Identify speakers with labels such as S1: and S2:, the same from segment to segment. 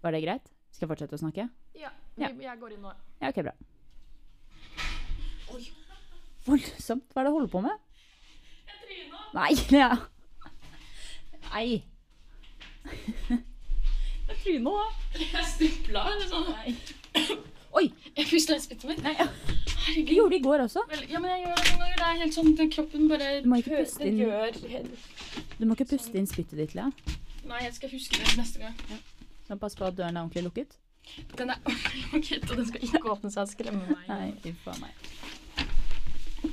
S1: Var det greit? Skal jeg fortsette å snakke?
S2: Ja,
S1: Ja.
S2: vi- jeg går inn nå.
S1: Ja, ok, bra. Voldsomt. Hva er det du holder på med? Jeg tryna. Nei. Ja. Nei. Jeg tryna òg.
S3: Jeg stupla. eller sånn.
S1: Oi!
S3: Jeg pusta i spyttet mitt.
S1: Nei, ja. Det
S3: Herregud.
S1: gjorde det i går også.
S3: Vel, Ja, men jeg gjør det noen ganger. Det er helt sånn at kroppen bare
S1: Du må ikke
S3: hø-
S1: puste
S3: den
S1: inn.
S3: gjør helt-
S1: Du må ikke puste inn spyttet ditt, Lea.
S3: Nei, jeg skal huske det til neste gang.
S1: Så pass på at døren er ordentlig lukket.
S3: Den er lukket, og den skal ikke åpne seg og skremme meg.
S1: Nei, uff a meg.
S3: Jeg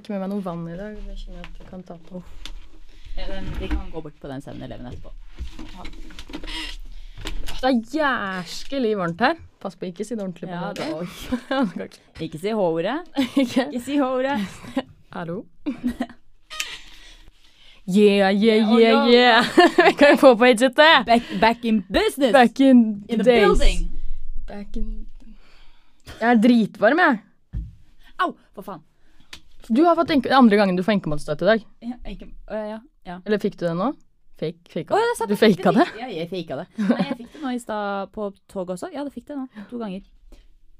S3: har ikke med meg noe vann i dag. Det kjenner jeg at jeg kan ta på.
S1: Vi kan gå bort på den 7-Eleven etterpå.
S3: Det er jæskelig varmt her. Pass på, ikke si det ordentlig på
S1: Ja,
S3: nå.
S1: det-
S3: Oi. Ja, det kan ikke-
S1: Ikke si H-ordet.
S3: Ikke?
S1: Ikke si H-ordet.
S3: Hallo? Yeah, yeah,
S1: Oh,
S3: yeah,
S1: no.
S3: yeah. Vi kan jo få på headsetet.
S1: Back, back in business!
S3: Back in,
S1: in the
S3: days.
S1: building!
S3: Back in... Jeg er dritvarm, jeg.
S1: Au, for faen.
S3: Du har fått enke... det er andre gangen du får enkemannsstøtte i dag.
S1: Ja, ikke, Å, ja, ja.
S3: Eller fikk du det nå? Fake, faka
S1: Å,
S3: det.
S1: ja, det satt
S3: Du
S1: jeg fikk
S3: faka det?
S1: Ja, jeg faka det. Nei, jeg fikk det nå i stad på toget også. Ja, det fikk det nå. To ganger. Og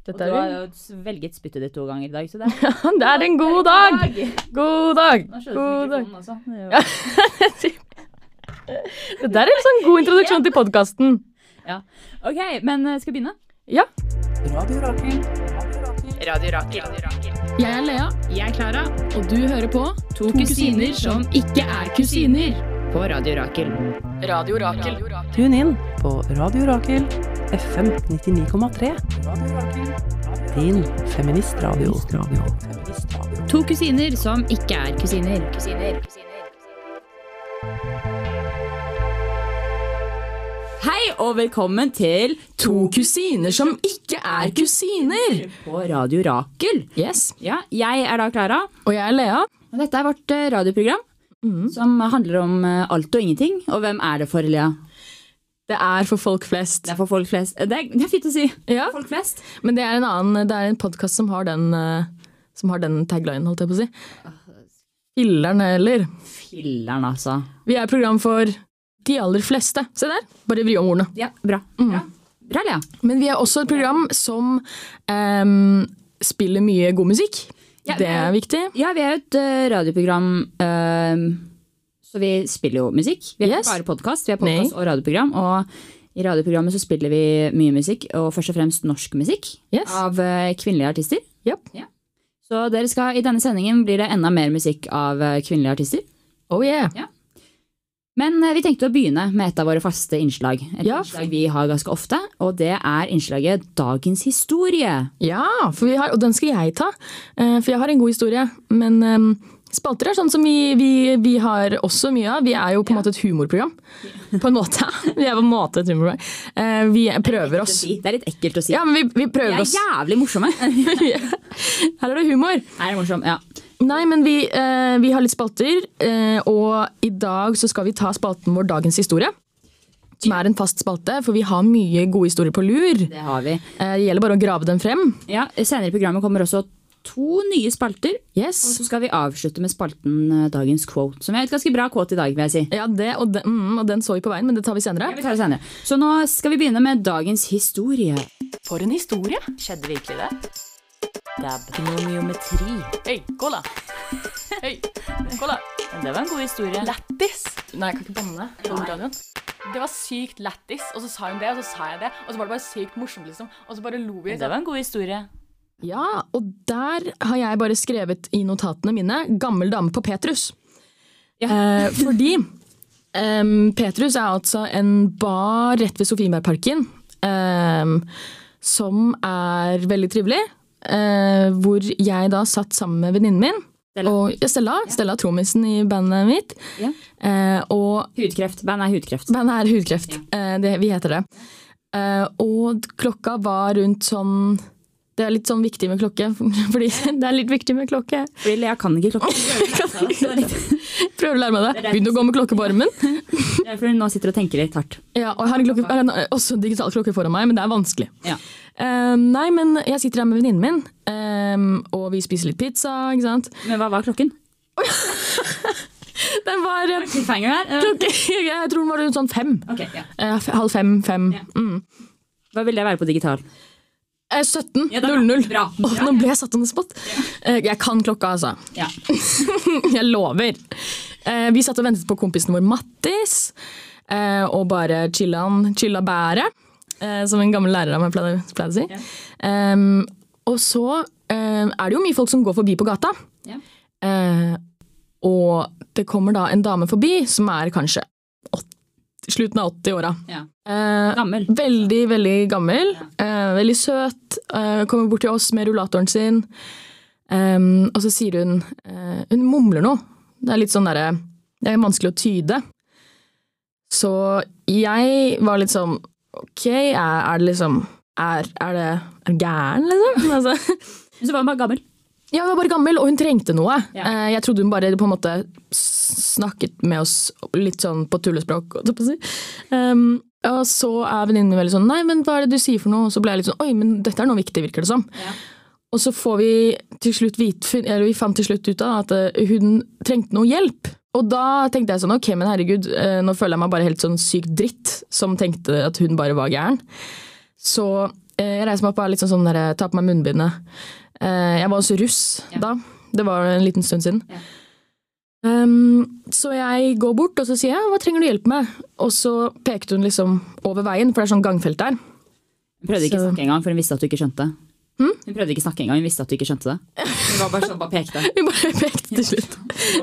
S3: Dette
S1: du har
S3: er,
S1: jo svelget spyttet ditt to ganger i dag, så det er
S3: jo- det er en god dag! God dag!
S1: Nå skjønner du
S3: God dag.
S1: mikrofonen også. Det er jo-
S3: Det der er en sånn god introduksjon til podkasten.
S1: OK, men eh, skal vi begynne?
S3: Ja.
S1: Radio Rakel.
S4: Jeg er Lea. Jeg er Klara. Og du hører på To,
S1: kusiner som
S4: ikke er kusiner.
S5: på Radio Rakel.
S4: Radio Rakel.
S6: Tune inn på Radio Rakel FM 99,3. Din feministradio.
S5: To kusiner som ikke er kusiner. kusiner.
S1: Hei og velkommen til
S4: To kusiner som ikke er kusiner.
S1: på Radio Rakel.
S4: Yes.
S1: Ja, jeg er da Klara.
S4: Og jeg er Lea.
S1: Og dette er vårt eh, radioprogram som handler om eh, alt og ingenting. Og hvem er det for, Lea?
S4: Det er for folk flest.
S1: Det er for folk flest. Eh, Det er, det er fint å si.
S4: Ja,
S1: Folk flest.
S4: Men det er en annen Det er en podkast som har den eh, Som har den taglinen, holdt jeg på å si. Filler'n heller.
S1: Filler'n, altså.
S4: Vi er et program for de aller fleste. Se der. Bare vri om ordene.
S1: Ja, bra. Bra. Mm. bra, Lea.
S4: Men vi er også et program som ehm, spiller mye god musikk.
S1: Ja,
S4: det er viktig.
S1: Ja, vi er jo et eh, radioprogram, eh, så vi spiller jo musikk. Vi er
S4: Yes.
S1: ikke bare podkast, vi er
S4: Nei.
S1: podkast og radioprogram. Og i radioprogrammet så spiller vi mye musikk, og først og fremst norsk musikk.
S4: Yes.
S1: Av eh, kvinnelige artister.
S4: Japp.
S1: Ja. Så dere skal, i denne sendingen blir det enda mer musikk av eh, kvinnelige artister.
S4: Oh yeah.
S1: Men eh, vi tenkte å begynne med et av våre faste innslag. Et
S4: Ja.
S1: innslag vi har ganske ofte, og det er innslaget Dagens historie.
S4: Ja, for vi har, og den skal jeg ta. eh, For jeg har en god historie. Men eh, spalter er sånn som vi, vi, vi har også mye av. Vi er jo på en måte et humorprogram. På en måte. Vi er på en måte et humorprogram. Eh, Vi prøver oss.
S1: Det er litt ekkelt å si.
S4: Ja, men vi, vi
S1: Vi
S4: prøver
S1: er
S4: oss.
S1: jævlig morsomme. Her
S4: Her er det humor.
S1: er det morsomt, ja.
S4: Nei, men vi, eh, vi har litt spalter, eh, og i dag så skal vi ta spalten vår Dagens historie. Som er en fast spalte, for vi har mye gode historier på lur.
S1: Det har vi.
S4: Eh, det gjelder bare å grave dem frem.
S1: Ja, Senere i programmet kommer også to nye spalter. Og
S4: Yes.
S1: så skal vi avslutte med spalten eh, Dagens quote, som er et ganske bra quote i dag. vil jeg si.
S4: Ja, det, og, den, mm, og den så vi på veien, men det tar vi senere.
S1: Ja, vi tar det senere. Så nå skal vi begynne med dagens historie.
S6: For en historie!
S5: Skjedde virkelig det?
S6: Dab. Gnomiometri.
S5: Hei, cola. Hei, cola.
S6: Men det var en god historie.
S5: Lættis. Nei, jeg kan ikke banne på radioen. Det var sykt lættis, og så sa hun det, og så sa jeg det. Og så var det bare sykt morsomt, liksom. Og så bare lo vi.
S6: Men det var en god historie.
S4: Ja, og der har jeg bare skrevet i notatene mine 'Gammel dame på Petrus'. Eh, fordi em, Petrus er altså en bar rett ved Sofienbergparken em, som er veldig trivelig. eh, hvor jeg da satt sammen med venninnen min.
S1: Stella.
S4: Og, ja, Stella, Stella Trommisen i bandet mitt.
S1: Ja.
S4: Eh, og
S1: Hudkreft. Bandet er hudkreft.
S4: Bandet er hudkreft. Eh, det, vi heter det. Eh, og klokka var rundt sånn Det er litt sånn viktig med klokke, fordi det er litt viktig med klokke.
S1: Fordi Lea kan ikke klokken.
S4: Prøver å lære meg det. Begynn å gå med klokke på armen.
S1: Det er fordi hun nå sitter og tenker litt hardt.
S4: Ja, og jeg har en klokke, jeg har en, også en digital klokke foran meg, men det er vanskelig.
S1: Ja.
S4: Eh, nei, men jeg sitter her med venninnen min, eh, og vi spiser litt pizza, ikke sant.
S1: Men hva var klokken?
S4: Den var eh,
S1: Cliffhanger der.
S4: klok- Jeg tror den var rundt sånn fem.
S1: Ok, ja.
S4: Eh, f- Halv fem, fem. Mm.
S1: Hva vil det være på digital?
S4: Eh, 17.
S1: Ja, det er
S4: 00.
S1: bra. Bra.
S4: Åh, nå ble jeg satt on the spot. Eh, Jeg kan klokka, altså.
S1: Ja.
S4: Jeg lover. Eh, Vi satt og ventet på kompisen vår Mattis, eh, og bare chilla han, chilla bæret, eh, som en gammel lærer av meg pleide pleide å si. Em, Og så eh, er det jo mye folk som går forbi på gata.
S1: Ja.
S4: Eh, Og det kommer da en dame forbi som er kanskje åt- slutten av 80-åra.
S1: Ja.
S4: Eh,
S1: Gammel.
S4: Veldig, veldig gammel. eh, veldig søt. eh, kommer bort til oss med rullatoren sin. Em, og så sier hun eh, Hun mumler noe. Det er litt sånn derre Det er vanskelig å tyde. Så jeg var litt sånn Ok, er, er det liksom Er, er det er det gæren, liksom? Altså.
S1: Men så var hun bare gammel.
S4: Ja, hun var bare gammel, og hun trengte noe.
S1: Ja.
S4: Eh, Jeg trodde hun bare på en måte s- snakket med oss litt sånn på tullespråk. holdt jeg på å si. Um, og så er venninnen min veldig sånn Nei, men hva er det du sier for noe? Og så ble jeg litt sånn Oi, men dette er noe viktig, virker det som. Og så får vi til slutt vite, eller vi fant til slutt ut av at eh, hun trengte noe hjelp. Og da tenkte jeg sånn Ok, men herregud, eh, nå føler jeg meg bare helt sånn sykt dritt som tenkte at hun bare var gæren. Så eh, jeg reiser meg opp og er litt sånn sånn der, tar på meg munnbindet. Eh, jeg var også russ da. Det var en liten stund siden. Um, så jeg går bort og så sier jeg, hva trenger du hjelp med? Og så pekte hun liksom over veien, for det er sånn gangfelt der.
S1: Hun prøvde ikke å
S4: Så- Hm?
S1: snakke engang, for hun visste at du ikke skjønte. Hun prøvde ikke snakke engang, hun visste at du ikke skjønte det. Hun var bare sånn, bare pekte.
S4: Hun bare pekte til slutt.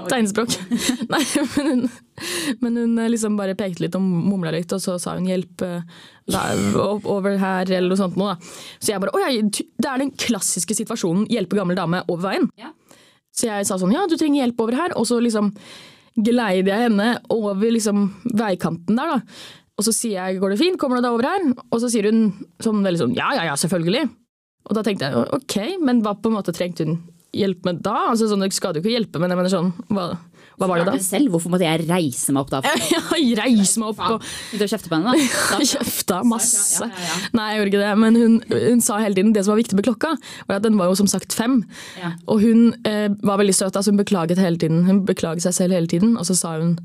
S4: Tegnspråk. Nei, men hun, men hun liksom bare pekte litt og mumla litt, og så sa hun 'hjelp eh, der, o- over her', eller noe sånt noe. da. Så jeg bare 'å ja, ty- det er den klassiske situasjonen, hjelpe gammel dame over veien'.
S1: Ja.
S4: Så jeg sa sånn 'ja, du trenger hjelp over her', og så liksom gleide jeg henne over liksom veikanten der, da. Og så sier jeg 'går det fint, kommer du deg over her?' Og så sier hun sånn veldig sånn 'ja, ja, ja, selvfølgelig'. Og da tenkte jeg ok, men hva på en måte trengte hun hjelp med da? Altså sånn, Du skal jo ikke hjelpe, men jeg mener sånn, hva, hva var det da?
S1: Selv, hvorfor måtte jeg reise meg opp da?
S4: Jeg reiste meg opp og
S1: Begynte å kjefte på henne da. da.
S4: kjefta masse.
S1: Ja, ja, ja.
S4: Nei, jeg gjorde ikke det, men hun, hun sa hele tiden det som var viktig med klokka, var at den var jo som sagt fem.
S1: Ja.
S4: Og hun eh, var veldig søt, altså hun beklaget hele tiden. Hun beklaget seg selv hele tiden, og så sa hun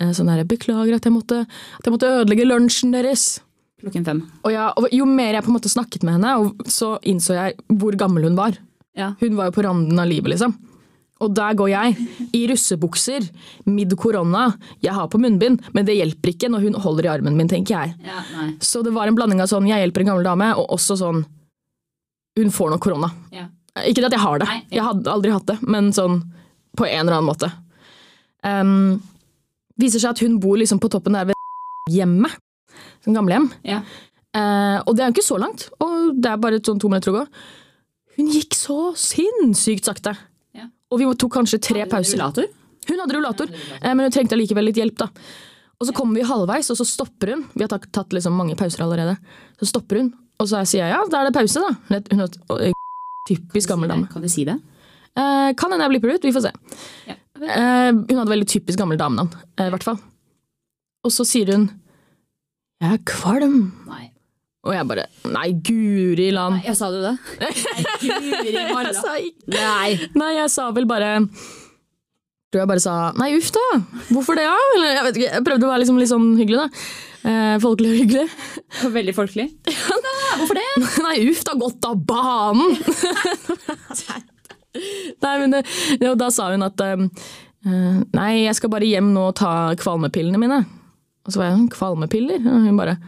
S4: eh, sånn her, beklager at jeg måtte, at jeg måtte ødelegge lunsjen deres.
S1: Klokken fem.
S4: Og, ja, og jo mer jeg på en måte snakket med henne, og så innså jeg hvor gammel hun var.
S1: Ja.
S4: Hun var jo på randen av livet, liksom. Og der går jeg, i russebukser, midd korona. Jeg har på munnbind, men det hjelper ikke når hun holder i armen min, tenker jeg.
S1: Ja, nei.
S4: Så det var en blanding av sånn jeg hjelper en gammel dame, og også sånn hun får nok korona.
S1: Ja.
S4: Ikke det at jeg har det,
S1: Nei, ja.
S4: jeg hadde aldri hatt det, men sånn på en eller annen måte. Um, viser seg at hun bor liksom på toppen der ved hjemmet, som gamlehjem.
S1: Ja.
S4: Eh, og det er jo ikke så langt, og det er bare sånn to minutter å gå. Hun gikk så sinnssykt sakte.
S1: Ja.
S4: Og vi tok kanskje tre pauser.
S1: Rullator?
S4: Hun hadde rullator, eh, men hun trengte allikevel litt hjelp. da. Og så kommer vi halvveis, og så stopper hun. Vi har tak- tatt liksom mange pauser allerede. Så stopper hun, og så sier jeg ja, da er det pause, da. Hun er- Hun er og- typisk gammel dame.
S1: Kan du si det?
S4: Eh, kan hende jeg blipper det ut, vi får se.
S1: Ja.
S4: Eh, hun hadde veldig typisk gammel damenavn, eh, i hvert fall. Og så sier hun 'jeg er kvalm'.
S1: Nei.
S4: Og jeg bare Nei, guri land.
S1: Jeg sa du det? Guri
S4: Jeg
S1: malla.
S4: sa ikke-
S1: Nei.
S4: Nei, jeg sa vel bare Tror jeg bare sa Nei, uff da. Hvorfor det, da? Eller jeg vet ikke. Jeg prøvde å være liksom, litt sånn hyggelig, da. Eh, folkelig og hyggelig.
S1: Veldig folkelig.
S4: Hvorfor det? Nei, uff da, gått av banen! Nei, men det- jo, da sa hun at ehm, eh, Nei, jeg skal bare hjem nå og ta kvalmepillene mine. Og så var jeg sånn Kvalmepiller? Og hun bare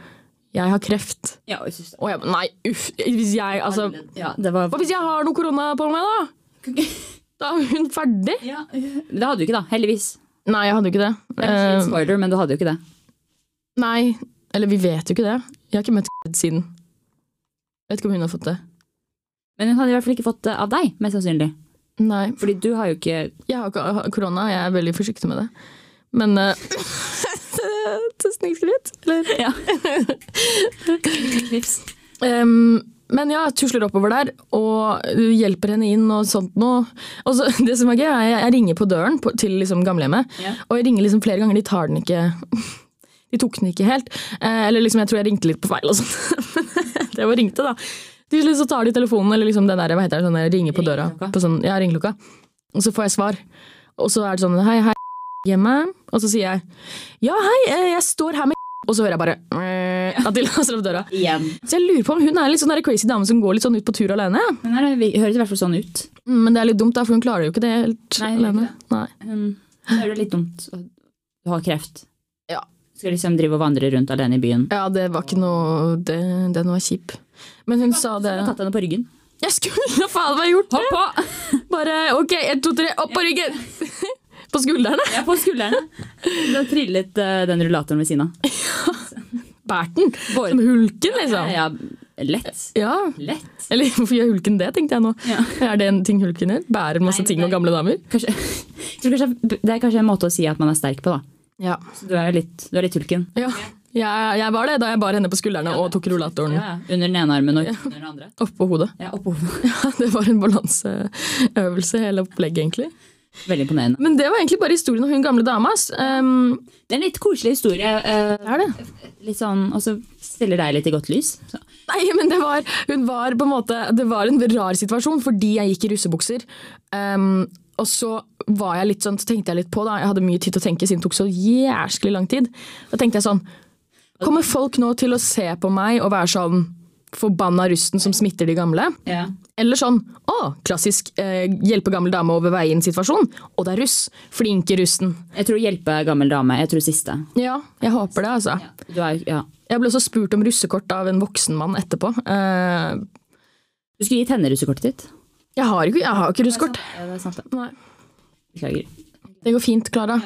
S4: Jeg har kreft.
S1: Ja, jeg synes det.
S4: Og jeg bare Nei, uff. Hvis jeg Altså
S1: Ja, det var
S4: Hva hvis jeg har noe korona på meg, da? Da er hun ferdig.
S1: ja. Det hadde du ikke, da. Heldigvis.
S4: Nei, jeg hadde jo ikke det.
S1: Det er kanskje
S4: Eh,
S1: litt spoiler, men du hadde jo ikke det.
S4: nei, eller vi vet jo ikke det. Jeg har ikke møtt siden. Jeg vet ikke om hun har fått det.
S1: Men hun hadde i hvert fall ikke fått det av deg, mest sannsynlig.
S4: Nei,
S1: Fordi du har jo ikke
S4: jeg har ikke har korona, jeg er veldig forsiktig med det. Men eh, Tusenskritt, eller?
S1: Ja.
S4: Em, men ja, jeg tusler oppover der og hjelper henne inn og sånt noe. Og så, det som er gøy, er jeg, jeg ringer på døren på, til liksom gamlehjemmet,
S1: Ja.
S4: og jeg ringer liksom flere ganger. De tar den ikke De tok den ikke helt. Eh, eller liksom, jeg tror jeg ringte litt på feil og sånn. det var ringte, da. Til slutt så tar de telefonen, eller liksom den der, hva heter det, sånn der ringer på døra.
S1: Ringeklokka.
S4: På sånn, ja, ringeklokka. Og så får jeg svar. Og så er det sånn Hei, hei, hjemme, og så sier jeg ja, hei, eh, jeg står her med og så hører jeg bare eh, at de låser opp døra.
S1: Igjen.
S4: Så jeg lurer på om hun er litt sånn der crazy dame som går litt sånn ut på tur alene. ja.
S1: Hun her høres i hvert fall sånn ut.
S4: Mm, Men det er litt dumt, da, for hun klarer jo ikke det helt
S1: Nei, hun gjør
S4: alene.
S1: ikke
S4: Nei.
S1: Hun det Um, er jo litt dumt. og Du har kreft.
S4: Ja.
S1: Skal liksom drive og vandre rundt alene i byen.
S4: Ja, det var ikke noe det, Den var kjip. Men hun sa det
S1: Jeg har tatt henne på ryggen.
S4: Jeg skulle faen meg gjort det!
S1: Hopp på!
S4: Bare OK, én, to, tre, opp på ryggen! På skuldrene.
S1: Jeg er på skuldrene. Du har trillet eh, den rullatoren ved siden av.
S4: Bært den. Som hulken, liksom.
S1: Ja, lett.
S4: Ja.
S1: Lett.
S4: Eller hvorfor gjør hulken det, tenkte jeg nå. Er det en ting hulken gjør? Bærer masse
S1: Nei,
S4: ting og
S1: det er-
S4: gamle damer?
S1: Kanskje, jeg tror kanskje, det er kanskje en måte å si at man er sterk på, da.
S4: Ja.
S1: Så du er litt, du er litt hulken.
S4: Jeg, jeg var det da jeg bar henne på skuldrene og tok rullatoren
S1: Ja, ja. Under den ene armen og under den andre.
S4: oppå hodet.
S1: Ja, oppå hodet.
S4: Det var en balanseøvelse, hele opplegget, egentlig.
S1: Veldig imponerende.
S4: Men det var egentlig bare historien om hun gamle dama. ass. Um,
S1: Det er en litt koselig historie. eh,
S4: er det?
S1: litt sånn, Og så stiller deg litt i godt lys. Så.
S4: Nei, men det var, hun var på en måte Det var en rar situasjon fordi jeg gikk i russebukser. Ehm, og så var jeg litt sånn, så tenkte jeg litt på da, jeg hadde mye tid til å tenke siden det tok så jæsklig lang tid. Da tenkte jeg sånn Kommer folk nå til å se på meg og være sånn forbanna rusten som smitter de gamle?
S1: Ja.
S4: Eller sånn å, klassisk eh, hjelpe gammel dame over veien-situasjon. Og det er russ. Flinke russen.
S1: Jeg tror hjelpe gammel dame. Jeg tror siste.
S4: Ja, jeg håper det, altså.
S1: Du er, jo- ja.
S4: Jeg ble også spurt om russekort av en voksen mann etterpå. Eh,
S1: Du skulle gitt henne russekortet ditt.
S4: jeg har ikke, jeg har ikke russekort.
S1: Ja, det er sant, det.
S4: Nei.
S1: Beklager.
S4: Det går fint, Klara.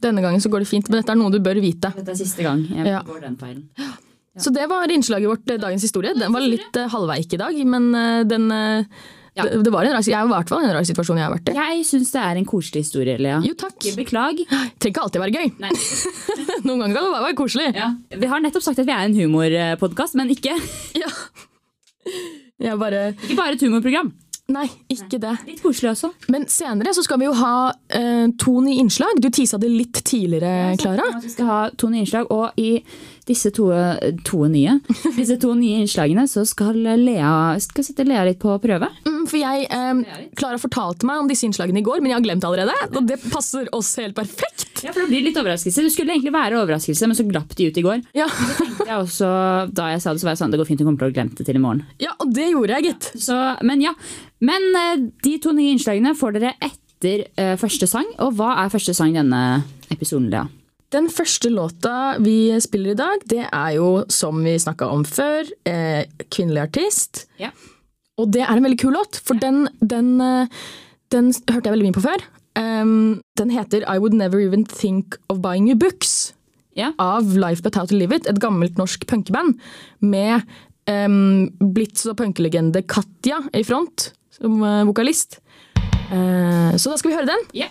S4: Denne gangen så går det fint, men dette er noe du bør vite.
S1: Dette er siste gang jeg
S4: Ja.
S1: går den feilen.
S4: Så det var innslaget vårt, eh, dagens historie. Den var litt eh, halvveik i dag, men eh, den eh,
S1: Ja.
S4: det, det var en rar, Jeg var i hvert fall i en rar situasjon jeg har vært i.
S1: Jeg syns det er en koselig historie, Lea.
S4: Jo, takk.
S1: Ikke Beklag.
S4: Trenger ikke alltid være gøy.
S1: Nei.
S4: Noen ganger kan det bare være koselig.
S1: Ja. Vi har nettopp sagt at vi er en humorpodkast, men ikke,
S4: Ja. Jeg bare
S1: ikke bare et humorprogram.
S4: Nei, ikke det.
S1: Litt koselig også.
S4: Men senere så skal vi jo ha eh, to nye innslag. Du tisa det litt tidligere, Klara.
S1: Sånn Vi skal ha to nye innslag, og i disse to, to nye Disse to nye innslagene så skal Lea Skal sette Lea litt på prøve.
S4: Mm, for jeg eh, Klara fortalte meg om disse innslagene i går, men jeg har glemt det allerede. Og det passer oss helt perfekt.
S1: Ja, for det blir litt overraskelse. Det skulle egentlig være overraskelse, men så glapp de ut i går.
S4: Ja,
S1: Det er også, da jeg sa det, så var jeg sånn Det går fint, hun kommer til å glemme det til i morgen.
S4: ja og det gjorde jeg, gitt.
S1: Så, men ja. Men eh, de to nye innslagene får dere etter eh, første sang. Og hva er første sang i denne episoden, Lea?
S4: Den første låta vi spiller i dag, det er jo, som vi snakka om før, eh, kvinnelig artist.
S1: Ja.
S4: Og det er en veldig kul låt, for den, den, eh, den hørte jeg veldig mye på før. Um, den heter I Would Never Even Think Of Buying You Books
S1: Ja.
S4: av Life But How To Live It, et gammelt norsk punkeband med um, blitt så punkelegende Katja i front som eh, vokalist. Eh, så da skal vi høre den.
S1: Ja.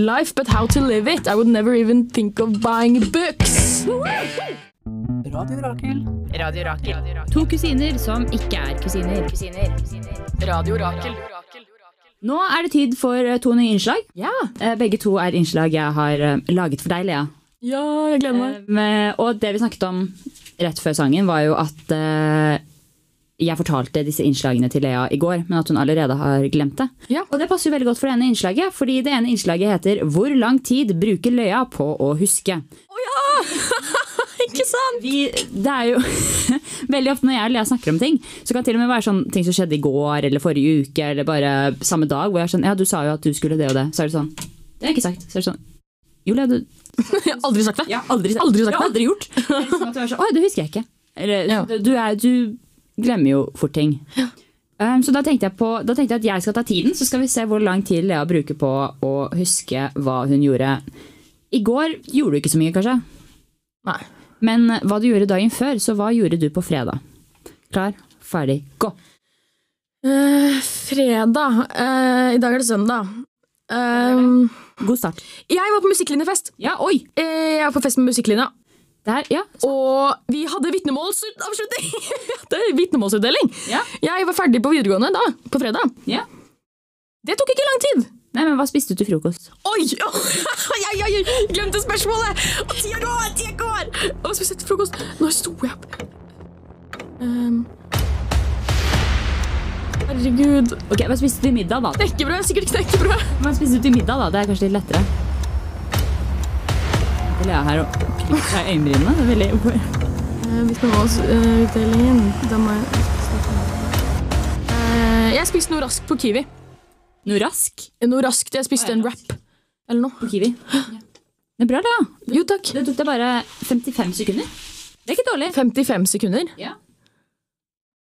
S4: Life But How To Live It. I Would Never Even Think Of Buying Books.
S1: To kusiner som ikke er kusiner. kusiner.
S4: Radio Rakel.
S1: Nå er det tid for eh, to nye innslag.
S4: Ja.
S1: Eh, Begge to er innslag jeg har eh, laget for deg, Lea.
S4: ja, jeg gleder meg.
S1: Um, eh, Og det vi snakket om rett før sangen, var jo at eh, jeg fortalte disse innslagene til Lea i går, men at hun allerede har glemt det.
S4: Ja.
S1: Og det passer jo veldig godt for det ene innslaget, fordi det ene innslaget heter 'Hvor lang tid bruker Løya på å huske'?
S4: Ikke sant?
S1: Vi, det er jo Veldig ofte når jeg og Lea snakker om ting, så kan det til og med være sånn ting som skjedde i går eller forrige uke eller bare samme dag, hvor jeg er sånn Ja, du sa jo at du skulle det og det. Så er det sånn Det har jeg ikke sagt. Så er det sånn Jo, Lea, du
S4: Jeg har aldri sagt det.
S1: jeg har aldri, sagt-
S4: Aldri sagt
S1: jeg har aldri gjort. Det er liksom at du er sånn, Oi, det husker jeg ikke. Eller,
S4: Ja.
S1: du, du er, du glemmer jo fort ting. Um, så da tenkte, jeg på, da tenkte jeg at jeg skal ta tiden, så skal vi se hvor lang tid Lea bruker på å huske hva hun gjorde. I går gjorde du ikke så mye, kanskje,
S4: Nei.
S1: men hva du gjorde dagen før, så hva gjorde du på fredag? Klar, ferdig, gå.
S4: Eh, fredag. Eh, I dag er det søndag. Ehm,
S1: God start.
S4: jeg var på musikklinjefest.
S1: Ja, oi!
S4: Eh, jeg var på fest med musikklinja.
S1: Der, ja.
S4: Og vi hadde vitnemålsavslutning! Vi hadde vitnemålsutdeling.
S1: Ja.
S4: Jeg var ferdig på videregående da, på fredag.
S1: Ja.
S4: Det tok ikke lang tid.
S1: Nei, men hva spiste du til frokost?
S4: Oi! oi, oi, oi, oi, Glemte spørsmålet! Og tida går! Tida går! Og spesielt til frokost. Når sto jeg opp? Ehm. Herregud.
S1: Ok, Hva spiste du til middag, da?
S4: Knekkebrød. Sikkert knekkebrød.
S1: Hva spiste du til middag, da? Det er kanskje litt lettere. vil jeg her og klippe seg i øyenbrynene. Det er veldig hvor-
S4: Eh, Hvis man må s- eh, utdelingen, da må jeg Eh, Jeg spiste noe raskt på Kiwi.
S1: Noe rask
S4: Noe raskt. Jeg spiste en wrap. Eller noe.
S1: på Kiwi. Det er bra, det. ja.
S4: Jo takk.
S1: Det tok deg bare 55 sekunder. Det er ikke dårlig.
S4: 55 sekunder.
S1: Ja.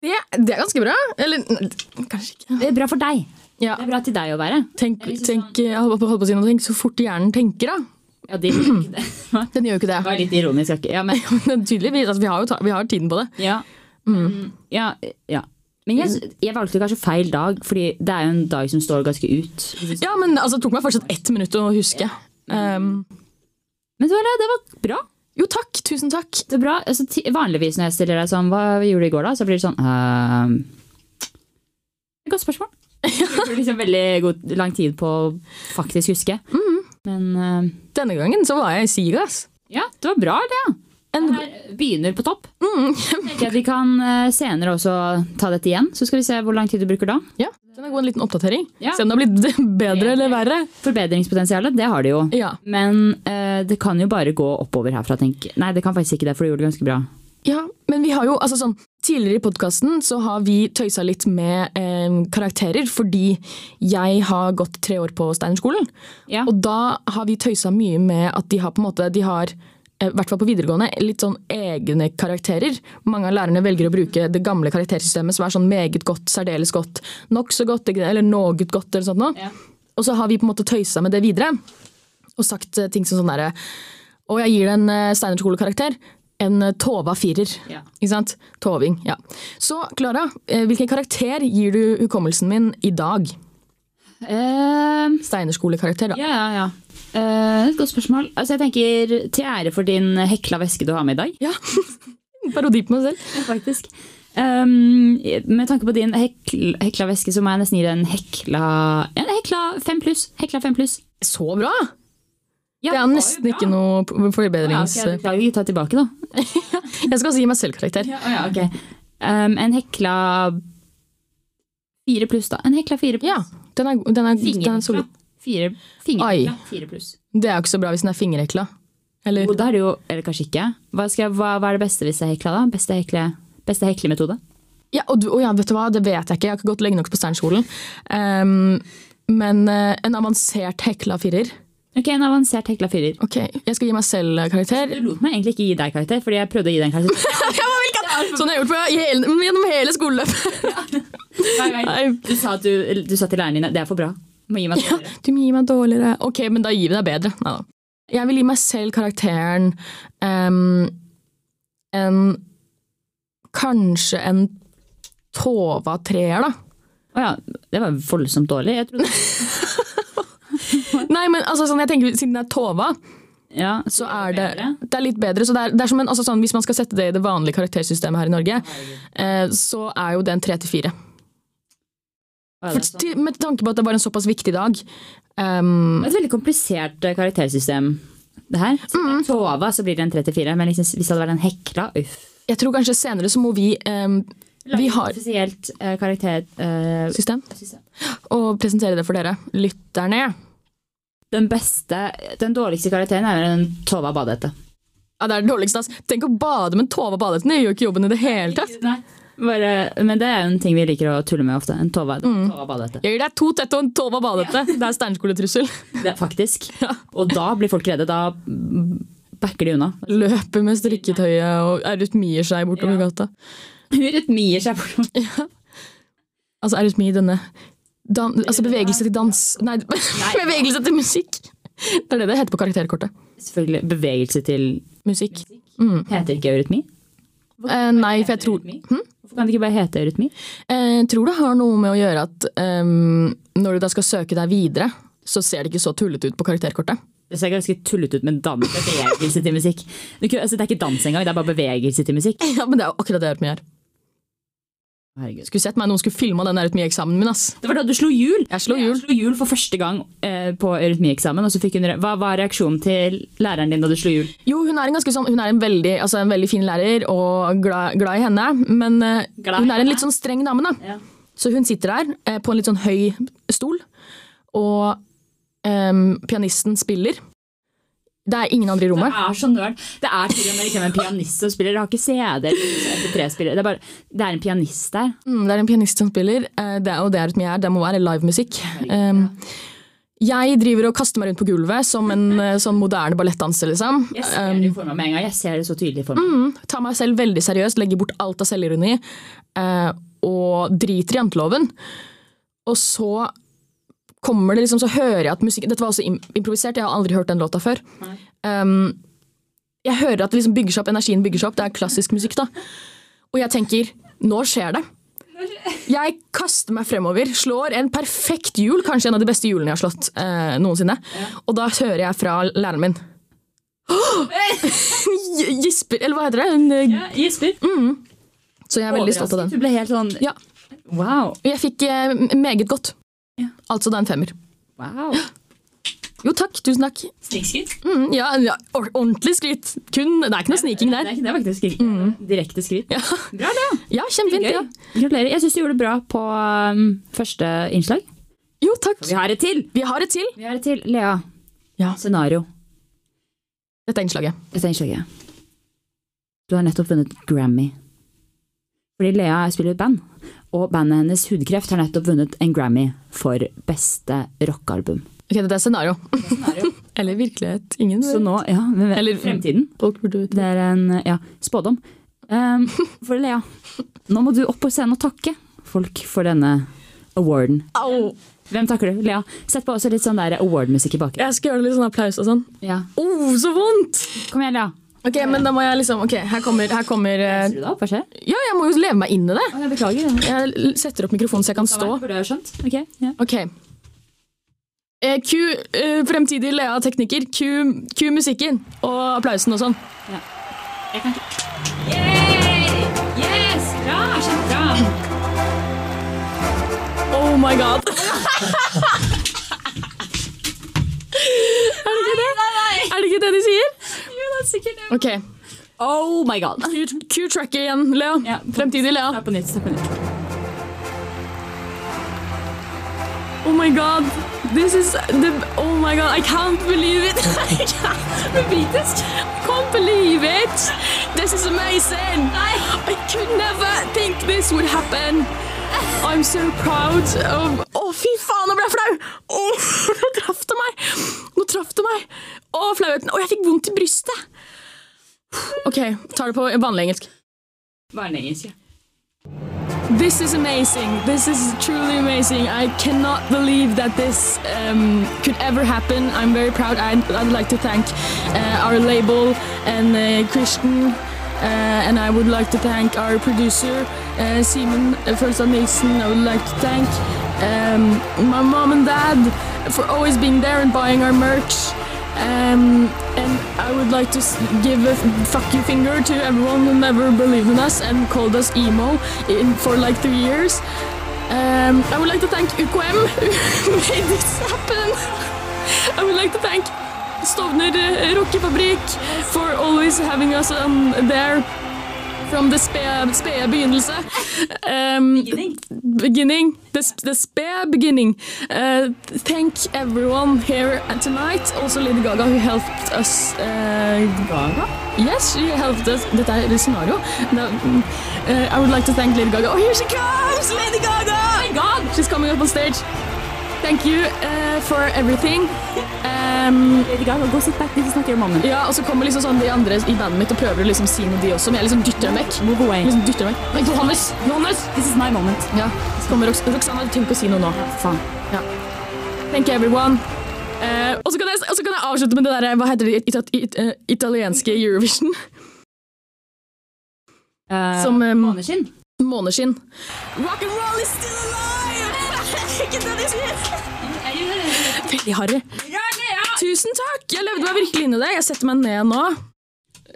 S4: Det, det er ganske bra. Eller n- kanskje ikke.
S1: Det er bra for deg.
S4: Ja,
S1: Det er bra til deg å være.
S4: tenk, tenk, jeg holdt på- holdt på å si noe, tenk så fort hjernen tenker, da.
S1: Ja, det liker ikke det. Det
S4: Den gjør jo ikke det.
S1: var litt ironisk. jeg ikke- Ja, men
S4: Men tydeligvis, altså, vi har jo ta, vi har tiden på det.
S1: Ja. ja, ja. Mm. Men jeg, jeg valgte kanskje feil dag, fordi det er jo en dag som står ganske ut.
S4: Ja, men altså, det tok meg fortsatt ett minutt å huske. Um,
S1: Men det var, det var bra.
S4: jo takk, tusen takk.
S1: Det var bra. Altså, ti- vanligvis når jeg stiller deg sånn, hva gjorde du i går da? Så blir det sånn, ehm, det er et godt spørsmål. Det bruker liksom veldig god, lang tid på å faktisk huske. Men ehm,
S4: Denne gangen så var jeg i Sigas.
S1: ja, det var bra det. ja.
S4: En,
S1: Det her begynner på topp. Tenker jeg at vi kan eh, senere også ta dette igjen, så skal vi se hvor lang tid du bruker da.
S4: ja, den er god en liten oppdatering.
S1: Ja.
S4: Se om det har blitt bedre eller verre.
S1: Forbedringspotensialet, det har det jo.
S4: Ja.
S1: Men eh, det kan jo bare gå oppover herfra, tenk. Nei, det kan faktisk ikke det, for du gjorde det ganske bra.
S4: Ja, men vi har jo, altså sånn, Tidligere i podkasten så har vi tøysa litt med eh, karakterer, fordi jeg har gått tre år på Steinerskolen.
S1: Ja.
S4: Og da har vi tøysa mye med at de har på en måte, de har, eh, i hvert fall på videregående, litt sånn egne karakterer. Mange av lærerne velger å bruke det gamle karaktersystemet som er sånn meget godt, særdeles godt, nokså godt eller noe godt eller sånt noe. Og så har vi på en måte tøysa med det videre og sagt eh, ting som sånn derre Og jeg gir deg en eh, Steinerskole-karakter. En eh, Tova firer.
S1: Ja.
S4: Ikke sant? Toving. Ja. Så Klara, eh, hvilken karakter gir du hukommelsen min i dag?
S1: Ehm,
S4: Steinerskole-karakter, da.
S1: Ja, ja, ja. Eh, et godt spørsmål. Altså, jeg tenker Til ære for din hekla veske du har med i dag,
S4: Ja. Parodi på meg selv.
S1: faktisk. Ehm, med tanke på din hekl, hekla veske, så må jeg nesten gi deg en hekla En hekla fem pluss. Hekla fem pluss.
S4: Så bra!
S1: Ja,
S4: Det er
S1: var jo
S4: nesten
S1: bra.
S4: ikke noe p-
S1: ja,
S4: forbedrings...
S1: ok, jeg Beklager, ta tilbake, da.
S4: Jeg skal si meg selv-karakter.
S1: ja, ok. Ehm, en hekla fire pluss, da. En hekla fire pluss.
S4: Ja, den er, den er, den er
S1: Fingerhekla.
S4: solid.
S1: Fire, fingerhekla
S4: Oi.
S1: fire pluss.
S4: Det er jo ikke så bra hvis den er fingerhekla. Eller
S1: Jo, da er det jo Eller kanskje ikke. Hva, skal jeg, hva, hva er det beste hvis jeg hekla, da? Beste, hekle, beste heklemetode?
S4: Ja, og du, å ja, vet du hva, det vet jeg ikke. Jeg har ikke gått lenge nok på Steinerskolen. Ehm, men eh, en avansert hekla firer.
S1: Ok, en avansert hekla firer.
S4: Ok, jeg skal gi meg selv eh, karakter.
S1: Du lot meg egentlig ikke gi deg karakter, fordi jeg prøvde å gi deg en karakter.
S4: Sånn har jeg gjort på hele, gjennom hele skoleløpet. Nei,
S1: Du sa, at du, du sa til læreren din at det er for bra. Du Må gi meg karakter.
S4: du må gi meg dårligere. Ok, men da gir vi deg bedre. Neida. Jeg vil gi meg selv karakteren ehm, en Kanskje en Tova treer, da.
S1: Å ja, det var voldsomt dårlig. Jeg trodde.
S4: Nei, men altså, sånn, jeg tenker siden det er Tova,
S1: Ja, sånn.
S4: så er det, det er litt bedre. Så det er, det er som en, altså sånn, hvis man skal sette det i det vanlige karaktersystemet her i Norge, eh, så er jo det en tre til fire.
S1: Å, ja,
S4: For
S1: det er sant.
S4: til- Med tanke på at det var en såpass viktig dag. ehm,
S1: Det er et veldig komplisert eh, karaktersystem, det her. Så
S4: Mm.
S1: Tova, så blir det en 34, men liksom, hvis det hadde vært en hekla, uff.
S4: jeg tror kanskje senere så må vi ehm, Vi har
S1: Offisielt eh, karakter... eh,
S4: system og presentere det for dere. Lytterne.
S1: den beste, den dårligste karakteren er vel en Tova badehette.
S4: Ja, det er det dårligste, ass. Tenk å bade med en Tova badehette. Det gjør ikke jobben i det hele tatt.
S1: Bare, men det er jo en ting vi liker å tulle med ofte. En Tova,
S4: Mm.
S1: tova badehette.
S4: Jeg gir deg to tette og en Tova badehette. Det er steinerskoletrussel.
S1: Det er Faktisk. Og da blir folk redde. Da mm, backer de unna.
S4: Løper med strikketøyet og eurytmier seg bortover gata.
S1: Uretmier seg bortom.
S4: Altså eurytmi, denne dan, Altså bevegelse til dans Nei, bevegelse til musikk! Det er det det heter på karakterkortet.
S1: Selvfølgelig. Bevegelse til
S4: Musikk. Mm.
S1: Heter ikke eurytmi? Hm?
S4: Eh, nei, for jeg tror,
S1: Hvorfor kan det ikke bare hete eurytmi?
S4: eh, tror det har noe med å gjøre at ehm, når du da skal søke deg videre, så ser det ikke så tullete ut på karakterkortet.
S1: Det ser ganske tullete ut med dans. Det er Bevegelse til musikk. Du, kunne- altså, det er ikke dans engang, det er bare bevegelse til musikk.
S4: Ja, Men det er jo akkurat det eurytmi er.
S1: Herregud.
S4: Skulle sett meg noen skulle filma den eurytmieksamen min, ass.
S1: Det var da du slo hjul!
S4: Jeg slo hjul.
S1: slo hjul for første gang eh, på eurytmieksamen. og så fikk hun re- Hva var reaksjonen til læreren din da du slo hjul?
S4: Jo, hun er en ganske sånn, hun er en veldig, altså en veldig fin lærer og glad, glad i henne, men eh,
S1: Glad i
S4: hun er en
S1: henne?
S4: litt sånn streng dame, da. Så hun sitter der eh, på en litt sånn høy stol, og em, pianisten spiller ehm, Det er ingen andre i
S1: Det
S4: rommet.
S1: er så nerd. Det er til og med liksom en pianist som spiller. Det har ikke CD eller MP3-spiller. Det, er bare- det er en pianist der.
S4: Mm, det er en pianist som spiller, eh, det er jo det rytme jeg er. Det må være livemusikk. Um, jeg driver og kaster meg rundt på gulvet som en eh, sånn moderne ballettdanser, liksom.
S1: Jeg ser det for meg med en gang. Jeg ser det så tydelig for meg.
S4: Mm, tar meg selv veldig seriøst, legger bort alt av selvironi eh, og driter i janteloven. Og så kommer det liksom, så hører jeg at musikken Dette var også im improvisert, jeg har aldri hørt den låta før. Um, jeg hører at det liksom bygger seg opp, energien bygger seg opp, det er klassisk musikk. da. Og jeg tenker nå skjer det. Jeg kaster meg fremover, slår en perfekt hjul, kanskje en av de beste hjulene jeg har slått eh, noensinne. Og da hører jeg fra læreren min J- Gisper, eller hva heter det? Hun, eh,
S1: Gisper.
S4: Så jeg er veldig stolt av den.
S1: Du ble helt sånn
S4: Ja.
S1: Wow.
S4: Jeg fikk eh, meget godt. Altså da en femmer.
S1: wow.
S4: Jo takk, tusen takk.
S1: Snikskritt?
S4: Mm, ja, ja, or- ordentlig skryt. Kun, det er ikke noe sniking
S1: Det er
S4: der.
S1: ikke det, er faktisk. Skritt. Direkte skritt.
S4: Ja,
S1: Bra, det.
S4: ja kjempefint.
S1: Gøy.
S4: Ja.
S1: Gratulerer. Jeg syns du gjorde det bra på um, første innslag.
S4: Jo takk.
S1: Vi har et til!
S4: Vi har et til.
S1: Vi har et til. Lea.
S4: Ja.
S1: Scenario.
S4: Dette er innslaget.
S1: Dette er innslaget. Du har nettopp vunnet Grammy. Fordi Lea spiller i et band, og bandet hennes Hudkreft har nettopp vunnet en Grammy for beste rockealbum.
S4: Ok, Dette er scenario. eller virkelighet. Ingen
S1: Så nå, ja, hvem vet,
S4: Eller-
S1: fremtiden.
S4: Folk burde vite.
S1: Det er en ja, spådom. Ehm, for Lea, nå må du opp på scenen og takke folk for denne awarden.
S4: Au!
S1: Hvem takker du? Lea, sett på også litt sånn der award-musikk i bakgrunnen.
S4: Jeg skal gjøre litt sånn applaus og sånn.
S1: Ja.
S4: Oh, så vondt!
S1: Kom igjen, Lea.
S4: Ok, men da må jeg liksom Ok, her kommer, her kommer eh,
S1: Ser du deg opp? Hva skjer?
S4: Ja, jeg må jo leve meg inn i det.
S1: Å, Jeg beklager.
S4: Jeg l- setter opp mikrofonen så jeg kan stå.
S1: Burde jeg ha skjønt? Ok, ja.
S4: Ok. Eh, Q, eh, fremtidig Lea tekniker. Q, Q musikken og applausen og sånn.
S1: Yes! Bra! Kjempebra!
S4: Oh my god! er det ikke det? Er det ikke det de sier?
S1: Jo, det er sikkert det.
S4: Ok.
S1: Oh my god.
S4: Q- Q-tracker igjen, Lea.
S1: Ja.
S4: Fremtidig Lea.
S1: Start på nytt. Start på nytt.
S4: Oh my god. This is the Oh my god, I can't believe it. I can't believe it. I can't believe it. This is amazing. I could never think this would happen. I'm so proud of Å, fy faen, nå ble jeg flau! Åh, nå traff det meg! Nå traff det meg. Å, flauheten. Å, jeg fikk vondt i brystet. OK, tar det på vanlig engelsk.
S1: Bare en engelsk. ja.
S4: This is amazing. This is truly amazing. I cannot believe that this um, could ever happen. I'm very proud. I'd, I'd like to thank uh, our label and uh, Christian. Uh, and I would like to thank our producer, uh, Simon Fursa Nilsen. I would like to thank um, my mom and dad for always being there and buying our merch. Um, and I would like to s- give a f- fuck you finger to everyone who never believed in us and called us emo in, for like three years. Um, I would like to thank UKM who made this happen. I would like to thank Stovner uh, Rockefabrikk for always having us um, there from the spede spe begynnelse. Um, beginning, the, s- the spare beginning. Uh, thank everyone here tonight. Also Lady Gaga who helped us. Uh, Yes, she helped us. Dette er scenario. No, mm, uh, I would like to thank Lady Gaga. Oh, here she comes! Lady Gaga! Oh my God! She's coming up on stage. Thank you uh, for everything. Um,
S1: Lady Gaga, go sit back. This is not your moment.
S4: ja, og så kommer liksom sånn de andre i bandet mitt og prøver å liksom si noe, de også, men jeg liksom dytter dem vekk.
S1: Move away.
S4: Liksom dytter dem vekk. Men Johannes! Johannes!
S1: This is my moment.
S4: Ja, så kommer Rox Roxanne, tenk å si noe nå.
S1: Faen.
S4: Thank you, everyone. Eh, og, så kan jeg, og så kan jeg avslutte med det der, hva heter det, ita- it, eh, italienske Eurovision?
S1: Eh,
S4: Som eh,
S1: Måneskinn.
S4: måneskinn. Rock and roll is still alive! Ikke det de sier! Veldig harry. Tusen takk! Jeg levde meg virkelig inn i det. Jeg setter meg ned nå.